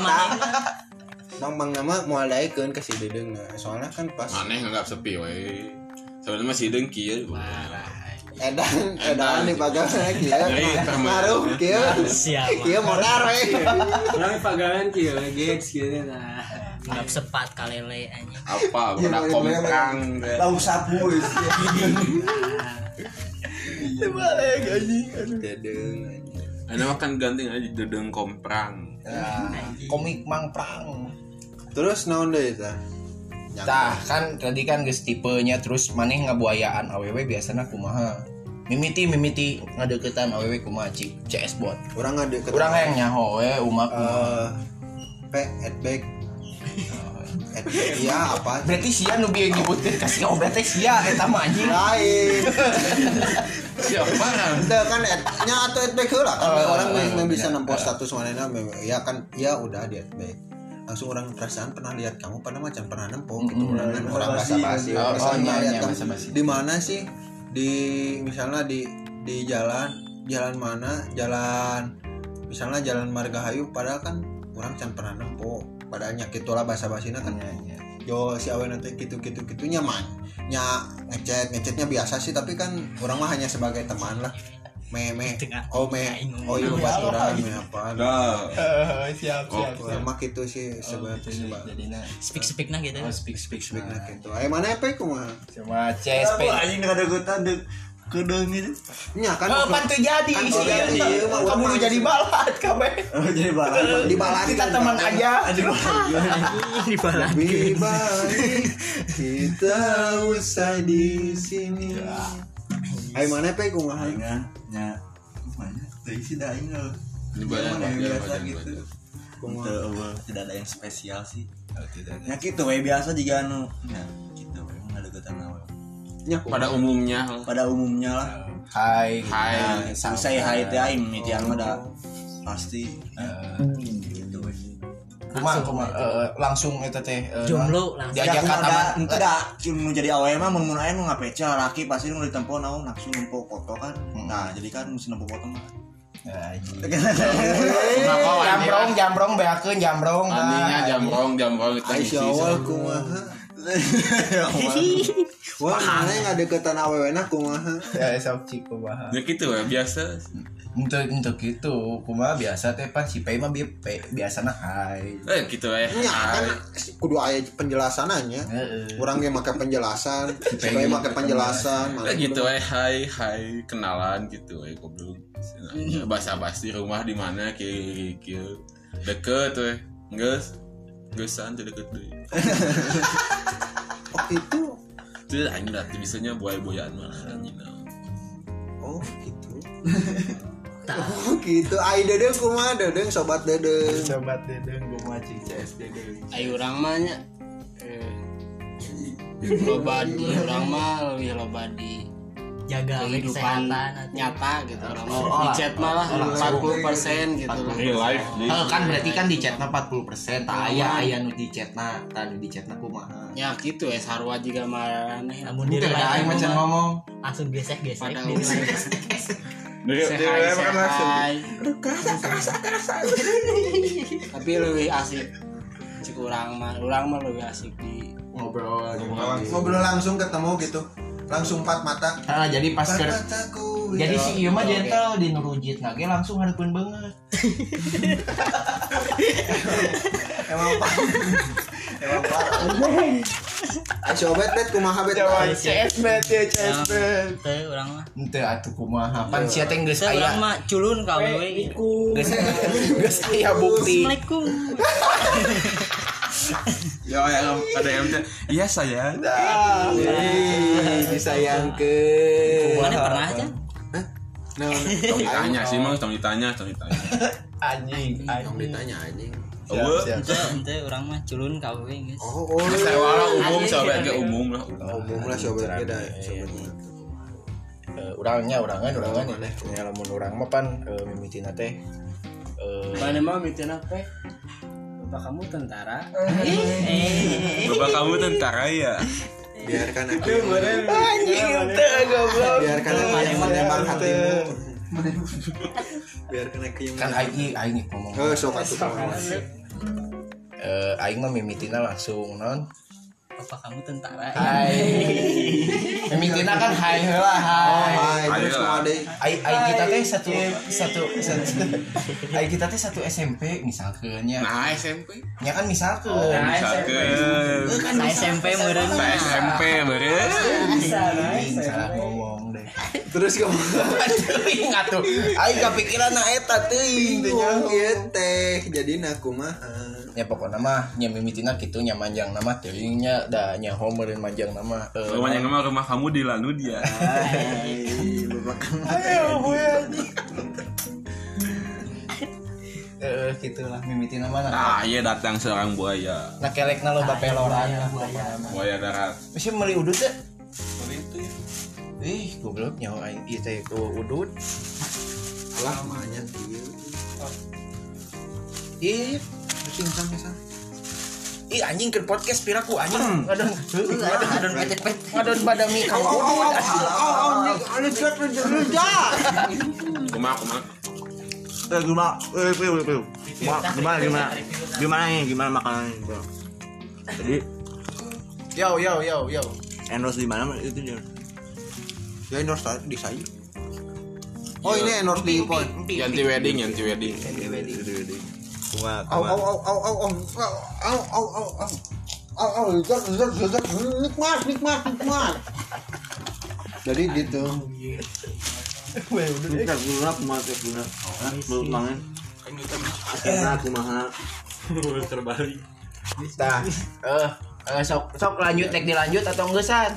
S5: kemana?
S4: Mang nama moal daekeun ke si Dedeung. nah. Soalnya kan pas
S2: aneh nggak sepi weh sebenarnya masih ya. dengkil
S4: edan edan di pagawean kieu.
S2: Jadi, termen.
S4: Ngaruh kieu.
S5: Siapa?
S4: Kieu modar we.
S7: Orang pagalan kieu gex kieu nah.
S5: Nggak sepat kalele anjing.
S2: apa pernah
S4: boleh, boleh,
S2: komprang teh.
S4: Tahu sapu.
S1: balik anjing aduh
S4: Dedeung. anjing.
S2: Ini mah kan ganting aja dedeng komprang
S1: Nah, komik mang prang
S4: Terus naon deui tah?
S1: Tah kan tadi kan geus tipenya terus maneh ngabuayaan awewe biasanya kumaha. Mimiti mimiti ngadeketan awewe kumaha cik CS bot.
S4: Urang ngade ke
S1: Urang yang nyaho we umak.
S4: eh P headback. Headback. Iya apa?
S1: Berarti sia nu bieu nyebutkeun ka si obat teh sia eta mah anjing.
S4: Lain.
S1: Ya,
S2: siapa
S4: Udah kan ad- nya atau adback heula kan
S1: Oh,
S4: orang
S1: oh, oh,
S4: yang bisa
S1: iya.
S4: nempo status manehna memang- ya kan ya udah di adback. Langsung orang perasaan pernah lihat kamu pada macan pernah nempo gitu
S1: Mm-mm.
S4: orang kan orang basa basi.
S6: Basa-basi.
S1: Oh, oh, iya, iya, basa-basi.
S4: Di mana sih? Di misalnya di di jalan jalan mana? Jalan misalnya jalan Margahayu padahal kan orang can pernah nempo. Padahal nyakitulah basa basina kan yo si awe nanti gitu gitu gitunya man nya ngechat ngechatnya biasa sih tapi kan orang mah hanya sebagai teman lah me me
S5: Tengah.
S4: oh me oh iya baturan me apa
S2: Nah,
S1: siap
S2: siap,
S4: orang mah gitu
S1: Oh,
S4: sih sebagai sebagai
S1: Jadina
S5: Speak speak nah gitu.
S1: Oh, speak speak speak.
S4: nah gitu eh mana apa kumaha
S1: Cuma CS
S6: Aku anjing kada gue tanduk kedeng gitu.
S4: nya kan
S1: Oh, pantu jadi
S4: Kan
S1: sih.
S4: orang iya, mah
S1: Kamu nu
S4: orang
S1: jadi
S4: sih.
S1: balat kabeh.
S6: Oh jadi barang.
S4: di balan
S1: Kita teman aja.
S5: Ini balas.
S4: lebih baik kita usai di sini Ayo mana apa kumaha
S6: Alingan nya mana? Tuh isi dah aing lo.
S2: ini banyak
S6: Mana
S2: banyak
S6: yang biasa
S2: banyak
S6: gitu.
S2: banyak.
S4: kumaha
S6: Tuh, eueuh, tidak ada yang spesial sih. Ya gitu we biasa juga anu. Nah, gitu we ngadeukeutan we.
S4: nya
S2: pada umumnya lah.
S6: Pada umumnya lah. Nah, ya,
S1: Hai.
S2: hai
S6: Usai haid teh aing mitian mah dah pasti. Gitu we.
S1: Kuma kuma eh, langsung eta teh. eh,
S5: Jomblo langsung.
S1: Diajak
S6: Aku
S1: ka
S6: ada,
S1: taman.
S6: ente da, cuma jadi awe mah mun mun aya nu ngapeca laki pasti nu ditempo naon nafsu nempo foto kan. Nah, jadi kan mesti nempo foto mah.
S1: Anjing.
S2: kenapa anjing
S1: Nah, iya. jambrong jambrong beakeun jambrong nah.
S2: anjingnya jamrong jamrong itu
S4: Aisyah Oh, awal
S1: Oh.
S4: kumaha Wah, mana yang ada deketan awewe nah kumaha.
S1: ya sok cik kumaha
S2: ya gitu ya biasa
S1: untuk untuk itu kumaha biasa teh pan si pay mah bi- pe- biasana hai
S2: eh gitu ya
S4: Nya kan
S2: Hai.
S4: kudu aya penjelasanannya.
S1: Heeh.
S4: Orang yang make penjelasan,
S1: Si
S4: supaya
S1: Peggy
S4: make penjelasan.
S2: Eh, gitu ya hai hai kenalan gitu ya goblok bahasa basi rumah di mana ki ki deket eh, weh geus geusan teu deket eh. deui
S4: Oh, itu.
S2: teu anjing lah teu bisanya buaya-buayaan mah anjing lah.
S4: Oh, gitu.
S5: Tah.
S4: Oh, gitu. Ai dedeng kumaha dedeng sobat dedeng.
S1: sobat dedeng kumaha cik CS dedeng
S7: Ayo orang mah nya. Eh, Loba di orang mah lebih loba di
S5: Jaga
S7: kehidupan
S5: kesehatan.
S7: nyata gitu orang mah.
S1: Oh, oh,
S7: Di chat mah lah 40% gitu lah.
S2: real life di
S1: Eh kan berarti kan di chatna 40 persen, tak ayah ayah nu di chatna, tak nu di chatna kumaha.
S7: Ya gitu ya sarua juga marane.
S3: Iya.
S5: Namun
S1: Mungkin
S5: diri
S1: ada aing macam ngomong.
S5: langsung gitu. gesek gesek.
S7: Pada mulai
S2: Sehai, sehai.
S7: sehai-sehai tapi lebih asik cik orang mah orang mah lebih asik di
S1: Ngobrol.
S4: Ngobrol langsung ketemu gitu. Langsung empat mata.
S1: Ah jadi pas ke
S4: Mataku.
S1: jadi
S4: Ya.
S1: si ieu mah gentle di nurujit nage langsung hareupeun banget.
S4: emang pak. Emang pak. Ai Ah, sobat bet kumaha bet.
S1: CS bet ya CS bet.
S5: Teh orang mah.
S1: Ente atuh kumaha pan sia teh geus
S5: Teh orang
S1: aya
S5: mah culun kau we.
S1: geus geus aya bukti.
S5: Assalamualaikum.
S2: ya yang ada yang teh, iya sayang
S1: Ah, eh, disayangkeun.
S5: Mana pernah aja?
S2: tong ditanya sih mang tong ditanya tong ditanya
S1: anjing
S4: Yang
S1: anjing.
S4: ditanya anjing.
S1: Siap, siap.
S5: Itu orang mah culun KW guys.
S4: oh oh
S2: Sewara umum sobat ke umum lah.
S4: umum lah sobat
S1: Cerah,
S4: beda
S1: iya,
S4: sobat
S1: iya. Eh, urangnya urangan urangan
S4: Urangan,
S1: ya
S4: eh.
S1: ya lamun urang mah pan eh, mimitina teh eh,
S7: Mana mah mitin apa? Bapak kamu tentara.
S5: Eh.
S2: Bapak kamu tentara ya.
S4: biarkan aku
S1: anjing teh goblok
S4: biarkan aku yang menembak hatimu biarkan aku yang
S1: kan aing aing ngomong
S4: oh sok atuh kawan.
S1: Eh, aing mah mimitina langsung non
S5: Bapak kamu tentara.
S1: hai mimitina kan hai heula hai
S4: hai
S2: Ayo
S4: terus
S2: lah.
S4: mau deh
S1: Aing aing kita teh satu satu satu aing kita teh satu SMP misalkeun nya
S2: Nah SMP.
S1: nya kan misalkeun
S2: Misalkan.
S1: Eh, kan misalkeun.
S5: Saya SMP meureun.
S2: Saya SMP bareng.
S1: Aing salah ngomong deh
S4: terus kamu
S1: teuing atuh aing kepikiran na eta teuing teh nya.
S4: iya teh jadi aku mah
S1: ya pokoknya mah nya mimitina kitu nya manjang nama teuingnya da nya homerin manjang nama eh,
S2: Rumahnya nama rumah kamu di Lanudia.
S1: Ayo, gue anjing. Eh, gitulah mimiti nama nah.
S2: Nah, Ah, iya datang seorang buaya.
S1: Nah, kelekna loba peloran lah.
S2: Buaya darat.
S1: Masih meli udut ya?
S2: itu ya.
S1: Ih, goblok nyawa aing ieu teh ku udut.
S4: lah mahnya iya
S1: Ih,
S4: pusing sampai sana
S1: ih anjing ke podcast piraku anjing. Ngadon.
S5: Aduh, aduh, pet-pet.
S1: Ngadon badami kang udut.
S2: Kumak, kumak.
S6: Eh, gimana? Eh, Pil, Pil. Ma- Gimana, gimana? Gimana nih? Gimana makanannya? Bro? Jadi
S1: Yo yo yo yo.
S6: endorse di mana itu dia?
S4: ya endorse tadi di saya oh ini endorse di point
S2: Yanti wedding, yanti wedding.
S6: Wah,
S4: au au au au au au au au au au au au zat zat zat nikmat nikmat nikmat jadi gitu
S6: kita guna kumaha teh guna. Hah, belum mangan. Karena kumaha.
S2: Terbalik.
S1: Tah. Eh, eh, sok sok lanjut tek dilanjut atau enggak san?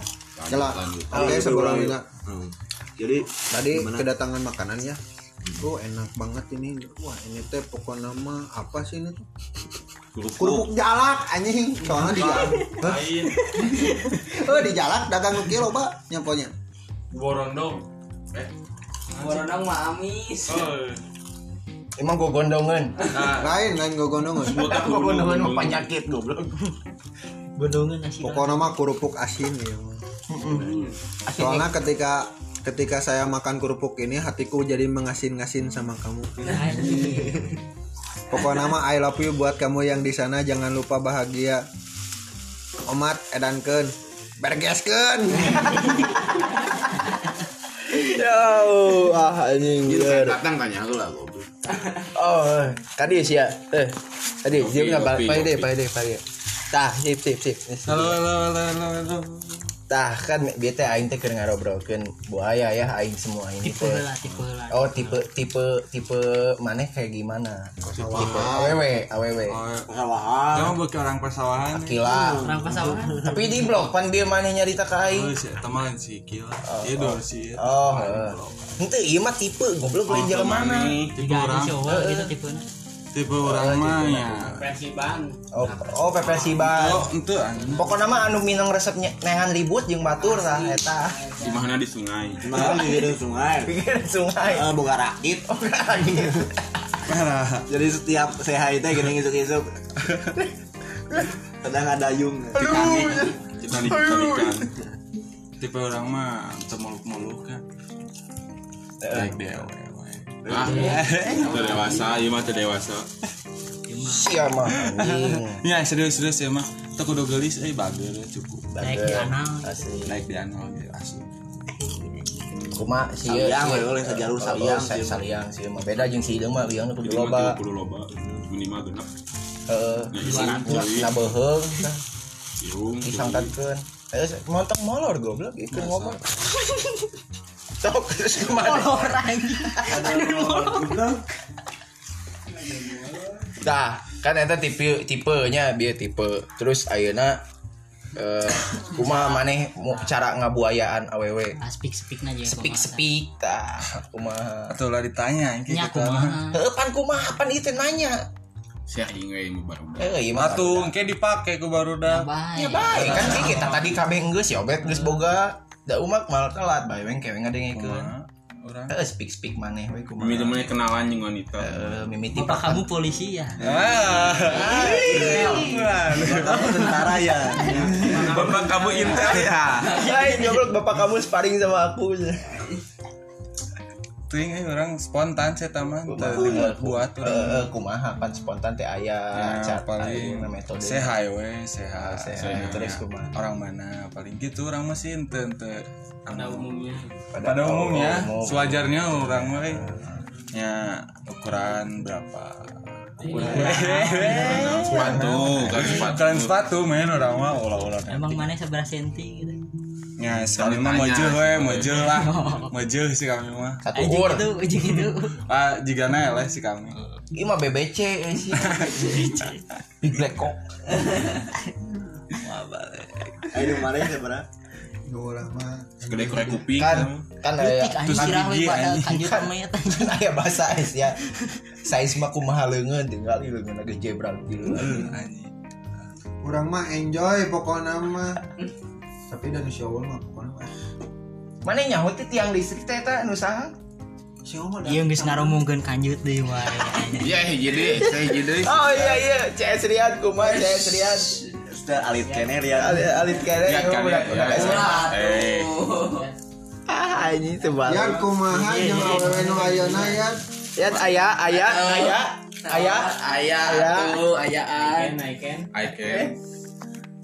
S4: jelas
S2: lanjut.
S4: oke sebelum kita
S6: Hmm. Jadi
S4: tadi
S6: Gimana?
S4: kedatangan makanannya Oh enak banget ini Wah ini teh pokok nama apa sih ini Kerupuk jalak anjing Soalnya di jalak Hah? Oh di jalak dagang ke kilo ba Nyamponya
S2: Borondong. Eh.
S7: Boronang mah amis.
S1: Emang gua gondongan.
S2: Nah,
S4: Lain lain gue gondong
S2: botak
S1: Gua gondongan mah penyakit goblok.
S5: Godongan nasi.
S4: Pokok nama kerupuk asin ya Soalnya ketika ketika saya makan kerupuk ini hatiku jadi mengasin-ngasin sama kamu.
S5: Nah,
S4: Pokok nama I love you buat kamu yang di sana jangan lupa bahagia. Omat edankeun. Bergeskeun.
S1: Yo, ah anjing. bener.
S2: datang tanya aku lah, goblok.
S1: Oh, tadi sih ya. Eh, tadi
S2: Kopi,
S1: dia nggak balik.
S2: kopi,
S1: Pak deh,
S2: kopi.
S1: pak deh, pak deh. Tah, sip, sip, sip.
S2: Halo, halo, halo, halo, halo.
S1: Tah, kan biar teh aing teh keur ngarobrolkeun buaya ya aing semua ini
S5: Tipe
S1: teh.
S5: lah, tipe lah.
S1: Oh, tipe tipe tipe mana kayak gimana? Tipe aww, aww.
S6: Persawahan.
S8: Kamu bukan orang persawahan.
S1: Kila.
S5: Orang pasawahan.
S1: Tapi di blok pan dia mana nyarita ke aing.
S8: Oh, si teman si gila. Iya dong si.
S1: Oh, heeh. Henteu ieu mah tipe goblok
S5: Oh,
S1: lain jalan mana.
S8: Tipe
S5: Tiga
S8: orang,
S5: ada cowok gitu tipenya.
S8: tipe orang mah ya.
S7: Persiban.
S1: Oh, oh PPSI
S8: Oh,
S1: ban.
S8: itu anjing.
S1: Pokoknya mah anu minang resep nye- nehan ribut jeung batur tah eta.
S2: Di mana di sungai?
S6: Malah di hidung sungai.
S1: Pikir sungai.
S6: Eh, boga rakit.
S1: Oh, kaget.
S6: Jadi setiap sehat itu gini ngisuk-ngisuk. Kadang ada yung.
S2: Kita dikalikan.
S8: Tipe orang mah temuluk-muluk kan. Baik Eh, dewe. iya.
S2: Ah, udah dewasa, iya mah udah dewasa.
S1: Siapa mah anjing.
S8: Ya serius-serius ya mah. Tuh kudu gelis eh bager cukup.
S5: Naik di anal.
S1: Asli.
S8: Naik di anal gitu asli.
S1: Kuma sih.
S6: Saliang, we, oleh sejarah saliang,
S1: sih.
S6: sih.
S1: Saliang sih mah beda jeung si ieu mah liang kudu
S2: Itu
S1: loba.
S2: mah 30 loba. Minimal genap.
S1: Heeh.
S2: Ya, isi
S1: Nah,
S2: kulit,
S1: nah beuheung tah,
S2: irung,
S8: kan?
S1: disangkatkeun. Ayo montong molor goblok ieu ngomong. Sok terus kemana?
S5: Orang.
S1: Dah, kan eta tipe tipenya bieu tipe. Terus ayeuna eh kumaha maneh mu- cara ngabuayaan awewe
S5: Speak speak Ah, aja.
S1: speak speak tah kumaha
S8: Atau lah ditanya ini
S5: Nya
S8: kita mah.
S5: kumaha.
S1: Heeh pan kumaha pan ieu teh nanya
S2: sharing we mau baru
S1: Eh, mah
S8: Atuh, engke dipake ku barudak.
S5: Bye.
S1: Ya baik kan sih kita tadi kami enggeus ya obet geus boga. Da umak mal telat bae weng kewe ngadengikeun.
S8: Urang.
S1: Heeh speak speak Eh, maneh we kumaha.
S2: Mimi temennya kenalan jeung wanita.
S1: Eh, mimiti
S5: Bapak
S1: pakan.
S5: kamu polisi ya?
S8: Ah.
S6: Kamu tentara ya.
S8: Bapak kamu intel ya.
S1: Lain goblok bapak kamu sparring sama aku.
S8: Ting eh, orang spontan saya taman
S1: Kumaha.
S8: buat orang.
S1: Heeh, Eh, kumaha pan spontan teh aya
S8: Ya,
S1: cara
S8: paling
S1: metode. Ah,
S8: Saya highway, Oh, saya
S1: Sehat,
S8: saya-
S1: terus kumaha.
S8: Orang mana paling gitu orang masih ente ente.
S7: pada umumnya
S8: Pada umumnya,
S1: umum.
S8: sewajarnya orang mah eh, ya ukuran berapa?
S2: Sepatu, kan sepatu.
S8: Ukuran sepatu main orang mah ulah-ulah.
S5: Emang mana seberapa senti gitu?
S8: Ya, sekali mah mojel we, mojel lah. Mojel sih kami mah.
S1: satu
S5: Aja
S1: ur.
S5: gitu, aja gitu.
S8: Ah, jika na eleh sih kami.
S1: Ieu mah BBC eh, sih. Big Black Cock.
S6: Ayo kemarin seberapa?
S4: Dua lama.
S2: Segede korek kuping.
S1: Kan kan aya
S5: Tik anjing sirah we pada kanjut amet anjing.
S1: kan aya bahasa es ya. Saya mah kumaha leungeun tinggal leungeun geus jebral gitu.
S8: Anjing.
S4: Orang mah enjoy pokoknya mah. Tapi dan si awal mah pokoknya mah.
S1: Mana nyaho teh tiang listrik teh eta nu saha?
S4: Si awal mah.
S5: Ieu geus ngaromongkeun kanjut deui wae.
S2: Iya, hiji deui, saya hiji deui.
S1: Oh iya iya, CS Rian kumaha CS Rian.
S6: Sudah ya, alit kene Rian.
S1: Alit alit kene
S2: Lihat kan ya.
S1: budak budak SMA.
S2: Eh,
S1: Ah anjing
S4: Yan
S1: sebalik.
S4: kumaha jeung awewe nu ayeuna yan.
S1: Yan Ya, aya aya aya aya
S3: Ayah,
S1: Aya.
S3: tuh ayaan.
S2: I can. eh.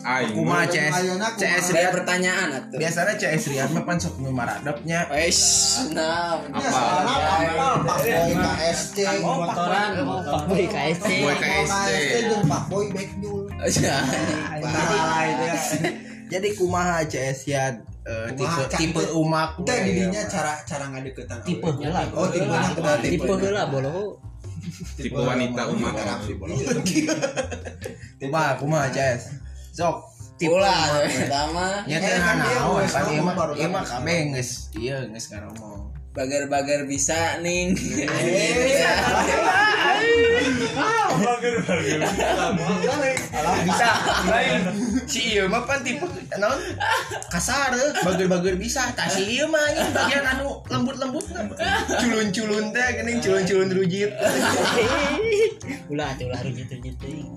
S2: Aing.
S1: kumaha CS
S4: Ayeuna kumaha?
S1: CS
S3: Saya
S1: Rian.
S3: pertanyaan atuh.
S1: Biasana CS Rian mah pan sok maradopnya.
S3: Wes, nah,
S4: Ya, salah apal Pakboy KSC.
S5: Motoran, pak boy KSC.
S2: Boy
S4: Pakboy KSC
S2: KSC.
S4: jeung Pakboy Backdul.
S1: Ya, Jadi kumaha CS Rian eh, tipe
S4: Kumaha, Cak?
S1: tipe umak Iya,
S4: Teh didinya cara cara ngadeukeutan. awewe.
S5: Tipe heula.
S4: Oh, tipe heula.
S5: Tipe heula bolo.
S2: Tipe wanita umat.
S4: Interaksi, bro.
S1: kumaha kumaha CS sok tipe
S3: pula pertama
S1: nya teh naon kan ieu mah ieu mah kabe geus ieu geus ngaromong
S3: bagar-bagar bisa ning.
S7: Iya.
S1: Alah bisa lain si ieu mah pan tipe naon kasar eh. bageur-bageur bisa tah si ieu mah anjing bagian anu lembut-lembut culun-culun teh geuning culun-culun rujit
S5: Ulah atuh ulah rujit-rujit teuing.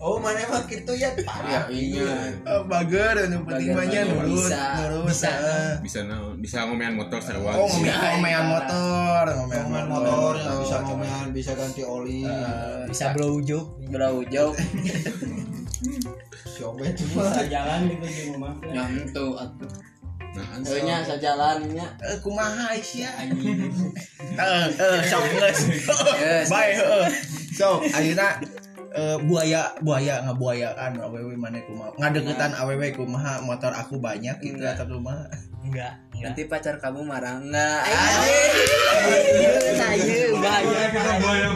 S4: Oh, mana mah kitu ya.
S2: Ya, iya.
S1: Eh, bageur anu penting banyak
S3: Bageur-bageur
S1: nurut
S3: bisa.
S1: nurut
S3: Bisa.
S1: eh.
S2: Bisa naon, bisa ngomean motor sarua.
S1: Oh, ngomean motor,
S4: Ngomongan
S1: ngomean
S4: motor, bisa ngomongan, bisa ganti oli.
S5: Bisa blow joke.
S3: Bro jauh
S4: Coba cuma.
S3: nyentuh atuh.
S2: Nah,
S3: Heunya sajalannya.
S1: Eh, kumaha Aisyah anjing. Heeh, heeh, sok geus. Bae, heeh. Sok, ayeuna eh, buaya buaya ngabuayaan awewe maneh kumaha ngadeketan awewe kumaha motor aku banyak gitu
S3: Enggak.
S1: atau kumaha
S5: Enggak, enggak.
S3: Nanti pacar kamu marah enggak? Anjing.
S5: Nah, ieu bahaya.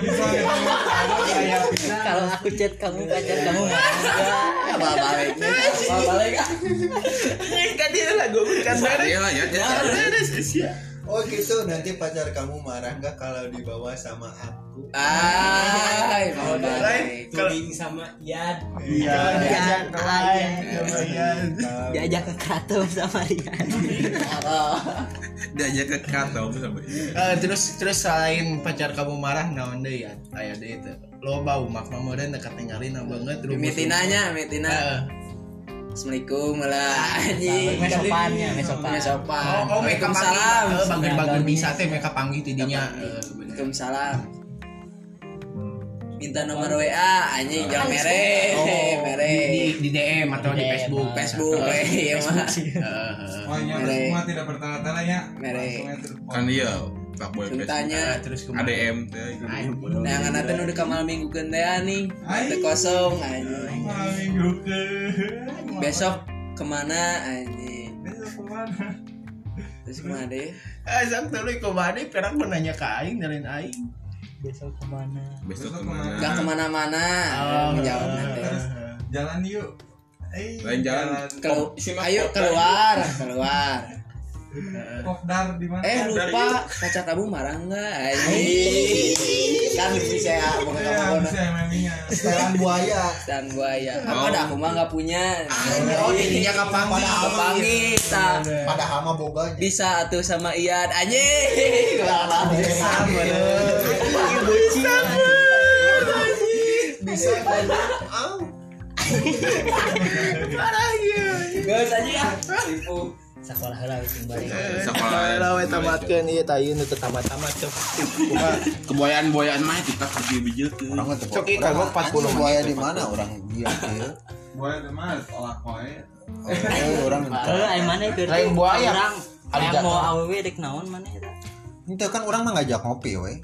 S5: Kalau aku chat kamu pacar kamu marah.
S3: Apa baliknya? Apa balik?
S1: kan dia lagu kan
S2: Iya lah ya.
S4: Oh gitu, nanti pacar kamu marah nggak kalau dibawa sama aku?
S3: Ah, mau balik.
S4: Iya,
S5: Jangan aja. Diajak ke keraton sama Rian.
S2: Diajak ke kantor sama iya.
S1: terus terus selain pacar kamu marah naon deui ya aya deui teh loba umak mah meureun dekat tinggalin na banget
S3: Mitinanya, mitina.
S1: Heeh.
S3: Assalamualaikum lah. Anjing.
S5: Mesopannya, mesopan.
S3: Mesopan.
S1: Oh, oh mereka
S3: Waalaikumsalam.
S1: panggil, bagian-bagian bisa teh mereka panggil tidinya.
S3: Waalaikumsalam. Minta nomor WA, anjing jangan Iya, mere, mere.
S1: Di, di, di DM atau di
S5: DM,
S1: Facebook.
S5: ah.
S3: Facebook, eh, iya mah.
S1: Heeh.
S8: Pokoknya
S3: Mere.
S8: semua tidak bertela-tela ya.
S3: Mere.
S8: Langsung aja terus.
S2: Kan iya, Pak Boy
S3: Tentanya
S1: Nah, terus kemudian
S2: ADM teh. gitu.
S3: Nah, nganna teh nu dekamal minggu kendean nih, teu kosong anjing.
S8: Malam minggu ke-
S3: Besok kemana anjing?
S8: Besok kemana?
S3: Terus kemana deh?
S1: Eh, sang tuluy kemana? Perak menanya ke Aing nyariin Aing.
S5: Besok kemana?
S8: Besok
S2: Besok kemana?
S3: Gak kemana-mana,
S1: Ah,
S3: menjawab nanti.
S8: Jalan yuk. Eh,
S2: Lain jalan.
S3: Kelu- ayo keluar, keluar.
S5: Kokdar di mana?
S3: Eh lupa kaca kamu marah nggak? Anjing.
S1: kan bisa ya
S5: Iya, bisa MMI-nya.
S4: setelan buaya
S3: Dan buaya.
S8: Oh.
S3: Apa dah aku mah nggak punya.
S4: oh dirinya kapan
S8: Oh, iya.
S3: Kepanggil tak
S4: pada hama boga
S3: bisa tuh sama Ian anjing.
S4: bisa iya. bisa bisa
S3: Guys aja ya. Tipu.
S5: Sekolah lah itu balik.
S1: kalau eta matkeun Eh, ieu tayun teu tamat-tamat cok kumaha
S2: kebuayaan-buayaan mah kita kerja bijil tuh
S4: orang itu
S1: Coki, kagok 40 menit.
S4: buaya di mana orang dia dia
S8: Buaya teman, tolak wae.
S4: Eh, orang
S5: Eh, aing mana itu?
S1: Lain buaya.
S5: Orang
S1: Ada
S5: yang mau
S1: jatuh.
S5: aww dek naon mana itu?
S4: itu kan orang mah ngajak ngopi we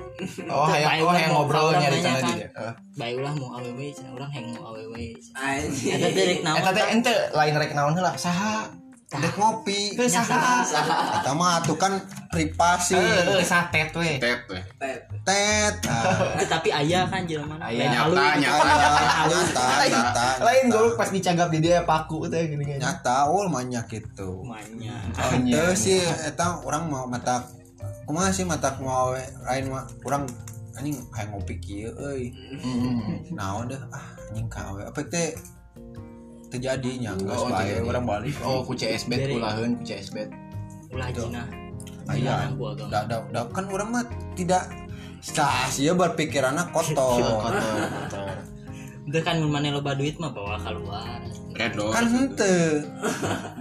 S1: oh hayang oh hayang ngobrolnya di sana dia Heeh.
S5: Bae ulah mau aww, cenah urang heng mau aww.
S3: Anjing.
S5: Eta teh dek naon?
S1: eta teh Eh, ente lain rek naon heula saha
S4: ngajak ngopi
S1: Teu saha saha
S4: kata mah tuh
S1: Eh,
S4: kan privasi
S1: Heeh, satet we
S2: tet eh. weh.
S4: tet Nah,
S5: Eh, tapi ayah kan jelema na.
S1: Aya.
S5: Lain halu.
S2: nyata nyata
S4: nyata nyata
S1: lain gue pas dicagap di dia paku teh gini gini
S4: nyata oh banyak gitu
S5: Manya.
S4: Terus sih eta orang mau mata kumaha sih mata mau lain mah orang anjing kayak ngopi kieu euy.
S1: Mm-hmm. Hmm.
S4: Naon deh ah anjing kawe apa teh terjadinya geus
S1: Oh,
S4: bae
S1: jadi
S4: orang
S1: orang balik. Oh, ku CSB kulaheun ku CSB.
S5: Ulah jinah.
S4: Aya.
S5: Aya gua agama.
S4: da, da, da, kan orang mah tidak sah sih berpikirannya kotor
S5: Udah kan mun mana loba duit mah bawa keluar.
S2: redo
S4: kan henteu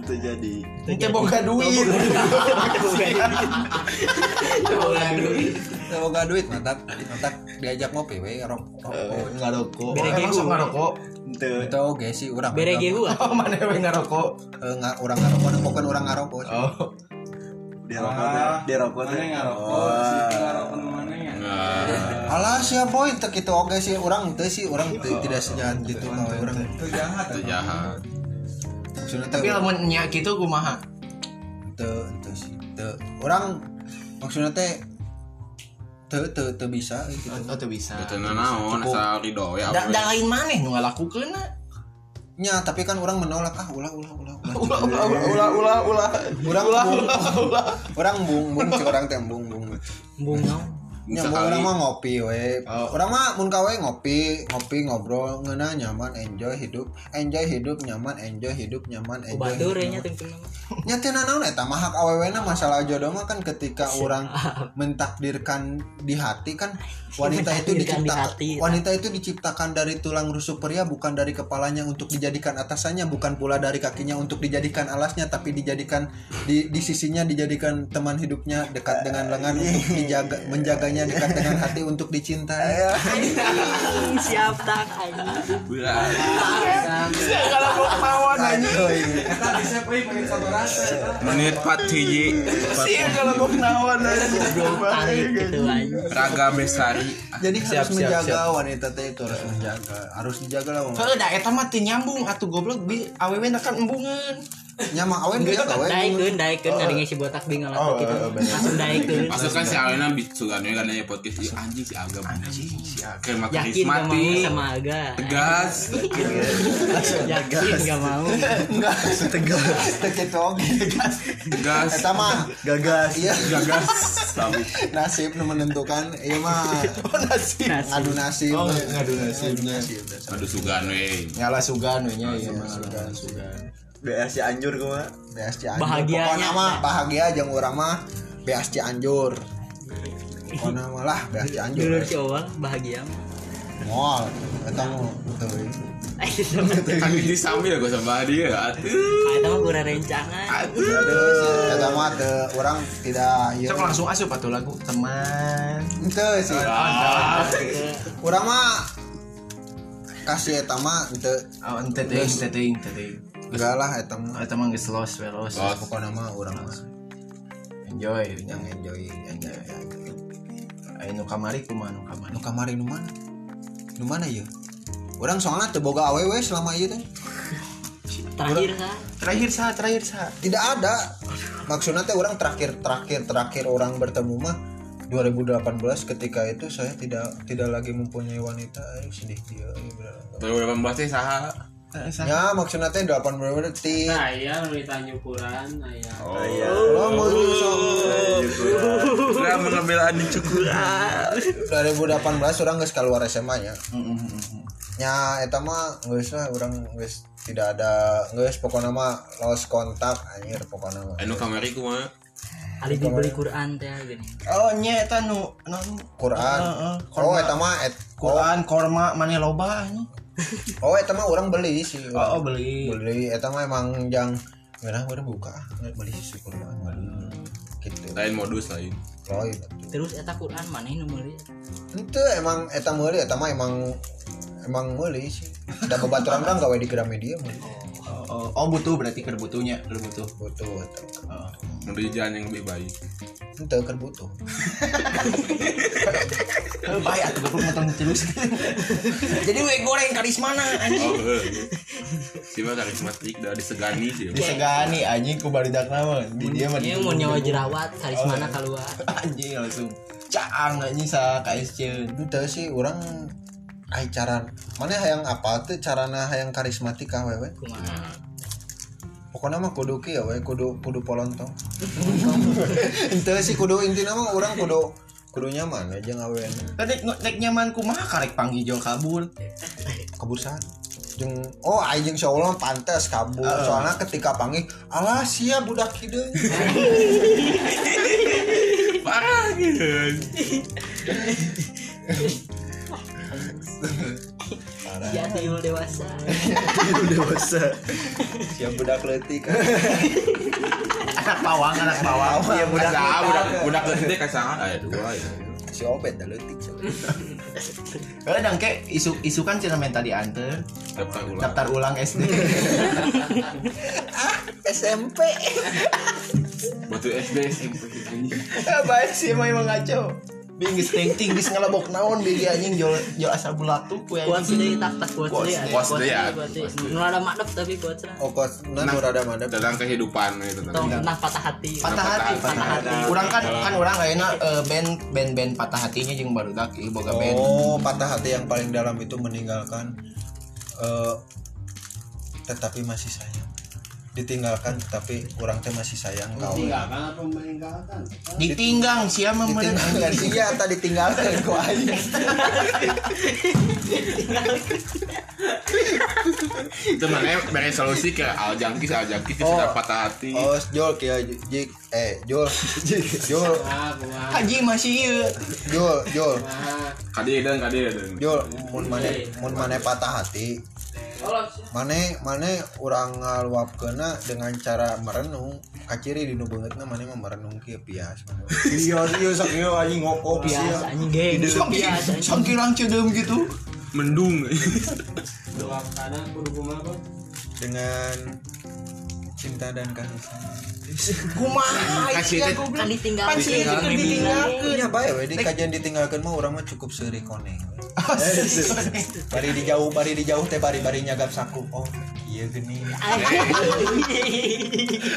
S1: Teh boga duit.
S5: Bawa duit.
S4: teu boga duit matak matak diajak ngopi we rokok
S1: Ngarokok.
S5: Bere
S1: Emang
S5: gegu.
S1: sok ngarokok. Eh.
S4: itu oge sih urang
S5: Bere ah? ge gua.
S1: Oh, mana we ngarokok?
S4: Eh, nga- urang ngarokok bukan urang ngarokok sih.
S1: Oh.
S6: Dia rokok dia, dia rokok Oh.
S7: Mana
S6: dia.
S7: yang ngarokok? Si ngarokok nu mana ya?
S4: Alah siapa poin teu kitu oge sih urang teu sih urang teu tidak sejahat gitu mah urang.
S2: itu jahat
S4: Maksudnya teh
S1: Tapi lamun nya kitu kumaha?
S4: teu teu sih teu urang maksudnya teh teu teu teu bisa eh, gitu.
S1: Oh, teu bisa.
S2: itu naon
S1: Cukup.
S2: asal ridho ya
S1: Da da lain maneh nu ngalakukeun na.
S4: Nya tapi kan urang menolak ah ulah ulah ulah ulah.
S1: Ulah ulah ulah ulah ulah.
S4: Urang bung- Urang bung bung cik urang teh bung bung.
S5: Embung naon?
S4: Nya
S2: Sekali.
S4: bung urang mah ngopi we.
S1: Oh.
S4: Urang mah mun kawe ngopi, ngopi ngobrol ngeuna nyaman enjoy hidup, enjoy hidup nyaman enjoy hidup nyaman
S1: Eh,
S5: Ku
S4: enjoy.
S5: batur
S4: hidup,
S5: nya tengkeun mah.
S4: nyata naon eta mah hak awewena masalah jodoh mah kan ketika orang mentakdirkan di hati kan wanita itu
S5: Mentakdirkan di
S4: diciptakan
S5: hati.
S4: wanita itu diciptakan dari tulang rusuk pria bukan dari kepalanya untuk dijadikan atasannya bukan pula dari kakinya untuk dijadikan alasnya tapi dijadikan di, di sisinya dijadikan teman hidupnya dekat dengan lengan untuk dijaga menjaganya dekat dengan hati untuk dicintai
S5: Anjing, Siap tak anjing.
S1: iya.
S4: Anjing.
S7: Eta bisa euy pakai sabarasa. eta.
S8: Menit 4 hiji
S2: iya,
S1: Iya,
S5: Goblok tarik gitu anjing.
S8: Raga Besari.
S4: jadi
S1: Siap,
S4: harus
S1: siap,
S4: menjaga
S1: siap.
S4: wanita teh itu harus menjaga harus dijaga lah
S1: Heuh, da eta mah teu nyambung atuh goblok bi awewe na kan embungan.
S4: nyama awen dia kawe
S5: Daikeun, daikeun
S1: Oh.
S5: ngaringin si botak bingal atau gitu. Langsung daikeun.
S2: Masuk kan si Alena bicugan ya karena ya podcast "Ih, anjing si Aga bener." Kayak makin
S5: Yakin gak mau
S2: karismatik,
S5: sama Aga.
S2: tegas.
S5: Yakin gak mau.
S4: Gitu, gagas
S2: Tegas.
S4: Eta mah gagas iya
S2: Gagas. Tapi
S4: nasib nu menentukan iya mah
S5: Nasib.
S4: ngadu nasib
S1: Oh, ngadu nasib.
S4: Ngadu nasib dasar.
S2: aduh sugan we.
S1: Nyala sugan we nya
S4: Iya,
S1: ieu mah.
S4: sugan,
S6: BS si Anjur gua.
S4: BSC Anjur
S5: Bahagianya.
S4: pokona mah bahagia jeung urang mah BSC Anjur pokona mah lah BSC Anjur
S5: Dulur si Owal bahagia mah.
S4: moal eta mah teu
S5: Ayo sama.
S2: Kan ini sambil gue sama dia. Atuh.
S5: Ada mah kurang rencangan.
S4: eta mah teu urang tidak ieu
S1: Sok langsung asup atuh lagu teman.
S4: henteu sih urang mah kasih eta mah henteu
S1: Oh, ente teuing, ente teuing, ente teuing.
S4: enggak lah eta mah
S1: Eta mah geus los, we los.
S2: Los.
S4: pokona mah urang mah
S1: Enjoy.
S4: yang enjoy yang enjoy
S1: Ayo nu kamari kumaha nu kamari.
S4: nu kamari nu mana nu mana ya orang soalnya teu boga aww selama itu
S5: Terakhir kan.
S1: Terakhir sa, terakhir sa.
S4: tidak ada maksudnya teh orang terakhir terakhir terakhir orang bertemu mah 2018 ketika itu Eh, saya tidak tidak lagi mempunyai wanita Aduh, sedih dia Aduh, bener.
S2: 2018 teh saha?
S4: Ya maksudnya teh 80 detik.
S5: Nah, iya nu ditanya ukuran, nah, iya.
S2: Oh,
S4: Lah mau
S2: Oh, gitu. Lah mengambil adi cukuran.
S4: 2018 orang geus keluar SMA nya. Nya eta mah geus lah urang geus tidak ada geus pokoknya mah lost kontak anjir pokoknya mah.
S2: Anu kamari kumaha?
S5: Ali dibeli Quran teh gini.
S1: Oh nya eta nu non
S4: Quran.
S1: Heeh,
S4: Oh
S1: korma.
S4: eta mah et oh,
S1: Quran korma mana loba anjing.
S4: oh eta mah urang beli sih.
S1: Oh,
S4: urang.
S1: beli.
S4: Beli eta mah emang yang Ngerah udah buka, ah. beli sih Quran, gitu.
S2: Lain modus lain.
S4: Lain, atuh.
S5: Terus eta Quran mana nu meuli?
S4: itu emang eta meuli eta mah emang emang meuli sih da babaturan urang gawe di Gramedia mah
S1: Oh, oh, oh, butuh berarti keur butuhnya, keur butuh.
S4: butuh eta
S1: Oh.
S2: Menuju jalan yang lebih baik.
S4: henteu keur butuh
S1: Eh, baik atuh gak perlu motong terus. Jadi we goreng karismana anjing.
S2: Oh, sih mah karismatik dah disegani sih.
S1: Disegani anjing ku baridak nama di dia mah.
S5: Ieu mun Iya, nyawa jerawat, karismana
S1: Oh.
S5: keluar.
S1: anjing langsung caang anjing sa KSC.
S4: henteu sih urang ai cara mana hayang apa tuh carana hayang karismatik ka wewe
S5: Kumaha?
S2: Nah,
S4: pokoknya mah kudu kieu we kudu kudu polontong henteu sih kudu intina mah urang kudu kudu nyaman aja ngawe
S1: Tadi nek nyaman kumaha karek panggijol kabur.
S4: kebursan jeung oh aing jeung Allah pantas kabur soalnya ketika panggil alah sia budak kieu
S2: parah gitu.
S5: Ya tiul dewasa.
S4: dewasa siap budak letik
S1: Anak bawang, anak bawang. Iya budak.
S2: Kasah, budak budak gede kasah. Aya dua ya.
S4: si obet dah letik
S1: Eh dangke isu isu kan cina minta diantar.
S2: Daftar ulang.
S1: Daftar ulang SD.
S4: SMP
S2: Batu SD SMP.
S1: Baik sih emang emang ngaco. Bingis ting ting bis ngelebok naon bigi anjing jol jol asal bulatu kue
S5: Kuat
S1: anjing.
S5: sudah tak pas kuat sudah.
S2: Kuat sudah ya.
S5: Kuat sudah. Nu ada madep tapi kuat sudah.
S4: oh kos nah
S2: Nah.
S4: rada mana
S2: Tentang kehidupan itu
S5: Tong
S2: tentang.
S5: nah patah hati.
S1: Patah hati,
S2: Patah
S1: patah
S2: hati.
S1: hati. Orang kan kan orang kayaknya eh, band band band patah hatinya jeung baru daki boga band.
S4: oh patah hati yang paling dalam itu meninggalkan eh, tetapi masih sayang ditinggalkan tetapi orang teh masih sayang kau
S9: Tinggalkan atau meninggalkan?
S1: Ditinggang sia mah meureun
S4: ditinggalkan iya tadi ditinggalkan kau aja
S2: Itu mana beri solusi ke al jangkis al jangkis itu sudah patah hati.
S4: oh jol kia jik eh jol jol
S5: Ah, kumaha?
S1: Haji masih ieu.
S4: jol jol
S2: Kadeh dan kadeh dan.
S4: Jol, mun mane mun mane patah hati. Mane mane urang ngaluapkeuna dengan cara merenung. Kaciri di nu beungeutna mane mah merenung kieu pias.
S1: Iya iya sok ieu anjing ngokop
S5: Biasa anjing geng. Biasa anjing.
S1: Sangkirang cedeum gitu.
S2: Mendung.
S5: Doa kanan kudu kumaha, Bang?
S4: Dengan cinta dan kasih sayang.
S1: Kumaha
S2: Kasih
S1: sia
S2: teh.
S1: goblok.
S5: Kan ditinggal.
S1: Pan sih
S5: Ditinggal,
S1: ditinggal,
S5: ditinggal.
S4: Ya bae we di kajian ditinggalkeun mah urang mah cukup seuri koneng. Bari di jauh, bari di jauh teh bari-bari nyagap saku. Oh, iya gini.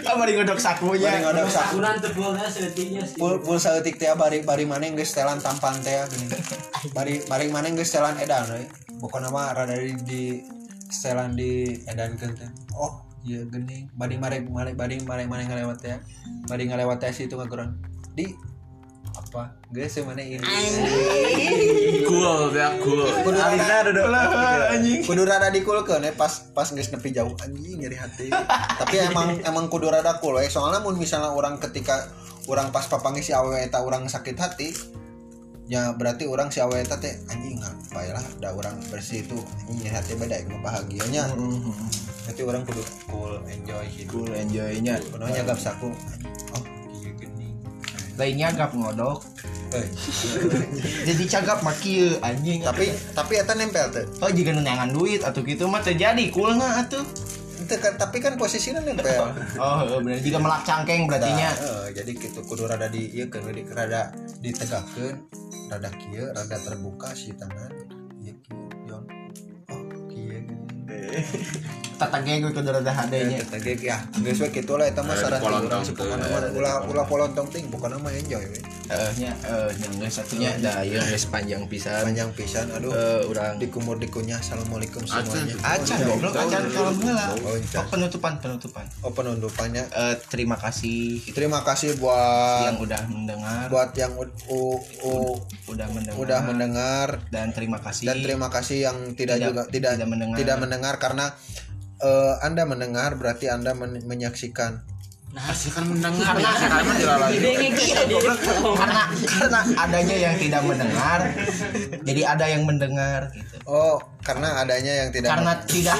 S1: Ah mari ngodok sakunya.
S4: Bari ngadap saku.
S5: Kurang tebalnya seutiknya sih.
S4: Pul pulsa eutik teh bari bari maneh geus telan tampan teh gini. Bari bari maneh geus telan edan euy. Pokona mah rada di, di setelan di edankeun teh. Oh, ieu geuning. Bari marek marek bari marek maneh ngalewat teh. Bari ngalewat teh situ ngagoran. Di apa? Geus teu maneh ini.
S2: Cool ya cool.
S4: Kudu rada
S1: Aduh lah anjing.
S4: kudu rada dikulkeun eh pas pas geus nepi jauh anjing nyeri hati. Tapi emang emang kudu rada cool eh. Soalnya mun misalnya orang ketika orang pas papangi si awewe eta orang sakit hati ya berarti orang si awewe eta teh anjing lah da orang bersih itu anjing nyeri hati beda yang bahagianya. Tapi orang kudu cool enjoy hidup.
S10: cool enjoynya
S4: Kudu nyagap saku. anjing. Oh, iya geuning.
S1: Lainnya agak ngodok.
S4: Eh,
S1: Jadi cagap maki ieu anjing.
S4: tapi tapi eta nempel teh.
S1: Oh jika nenangan duit atau gitu mah terjadi kulna atuh.
S4: Teu kan- Tapi kan posisinya nempel.
S1: Oh heeh, bener jika melak cangkeng berartinya.
S4: Nah, eh, jadi gitu kudu rada di ieu keur di rada ditegakkeun, rada kieu, rada Iya, terbuka si tangan. Ieu kieu, Jon. Oh, kieu gini.
S5: tata geng ke dorada HD nya
S1: Eh.
S4: Tegek ya, geus we kitu lah eta mah
S2: Eh,
S4: sarana
S2: dipolontong
S4: urang sih
S2: tuh,
S4: pokona
S2: eh,
S4: mah ulah ulah polontong ting pokona mah enjoy we.
S1: eh nya eh yang geus satunya da ieu geus panjang pisan
S4: Panjang pisan aduh.
S1: eh urang
S4: Dikumur dikunyah Assalamualaikum semuanya.
S1: acan goblok acan kalau heula
S4: Oh,
S1: Oh, penutupan penutupan
S4: Oh penutupannya
S1: Eh, terima kasih
S4: terima kasih buat
S1: yang udah mendengar
S4: buat yang u, u- u-
S1: udah mendengar
S4: udah mendengar
S1: dan terima kasih
S4: dan terima kasih yang tidak,
S1: Tidak-
S4: juga tidak
S1: tidak mendengar.
S4: tidak mendengar karena eh, anda mendengar berarti anda men- menyaksikan
S2: Nah, sih kan mendengar ya, sekarang mah jelas lagi.
S1: karena karena adanya yang tidak mendengar jadi ada yang mendengar gitu
S4: oh karena adanya yang tidak
S1: karena tidak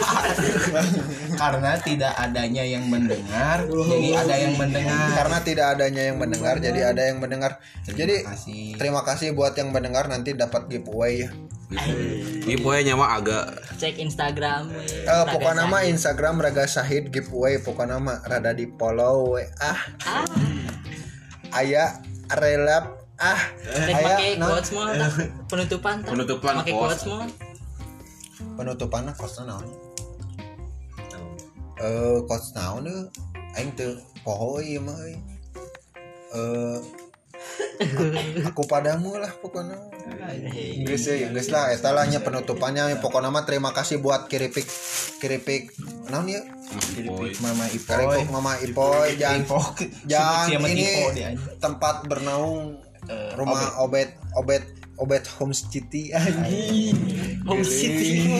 S1: karena tidak adanya yang mendengar jadi ada yang mendengar
S4: karena tidak adanya yang mendengar jadi ada yang mendengar jadi
S1: kasih
S4: terima kasih buat yang mendengar nanti dapat giveaway ya
S2: Ini pokoknya mah agak
S5: cek Instagram
S4: Eh, pokoknya nama Instagram Raga Sahid giveaway pokoknya nama rada di follow we. ah aya relap ah
S5: Cek
S4: aya
S5: pakai
S4: naon?
S5: quotes mall tah. penutupan tah.
S2: Penutupan
S5: pakai
S2: quotes.
S5: quotes mall
S4: penutupannya kosna naon eh kos naon euy? aing teu poho ieu mah euy. eh aku padamu lah pokoknya Geus euy, geus lah eta lah nya penutupannya pokoknya mah terima kasih buat kiripik kiripik naon ya
S2: boy.
S1: mama ipoy
S4: kiripik mama ipoy jangan
S1: ipoy
S4: jangan
S1: Sebut siapa
S4: ini
S1: Ipoy dia, anjing.
S4: tempat bernaung
S1: Eh,
S4: rumah obet obet obet home city
S5: home city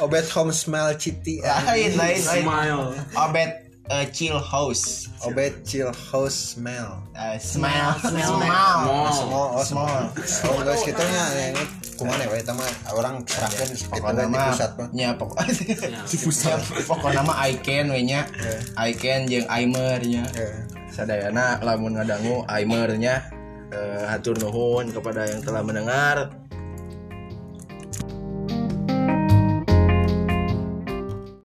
S4: obet home smell city
S1: lain lain lain obet eh, chill house
S4: obet Oh, chill house smell
S1: Eh, smile
S5: Smile.
S4: small oh small oh guys kita nya ini kumana ya eta mah orang terakhir di
S1: Iya, pokoknya
S4: di
S1: mah
S4: pusat mah
S1: nya pokoknya pokoknya mah Iken we nya Iken jeung Aimer nya
S4: Eh,
S1: sadayana lamun ngadangu Aimer nya eh, hatur nuhun kepada yang telah mendengar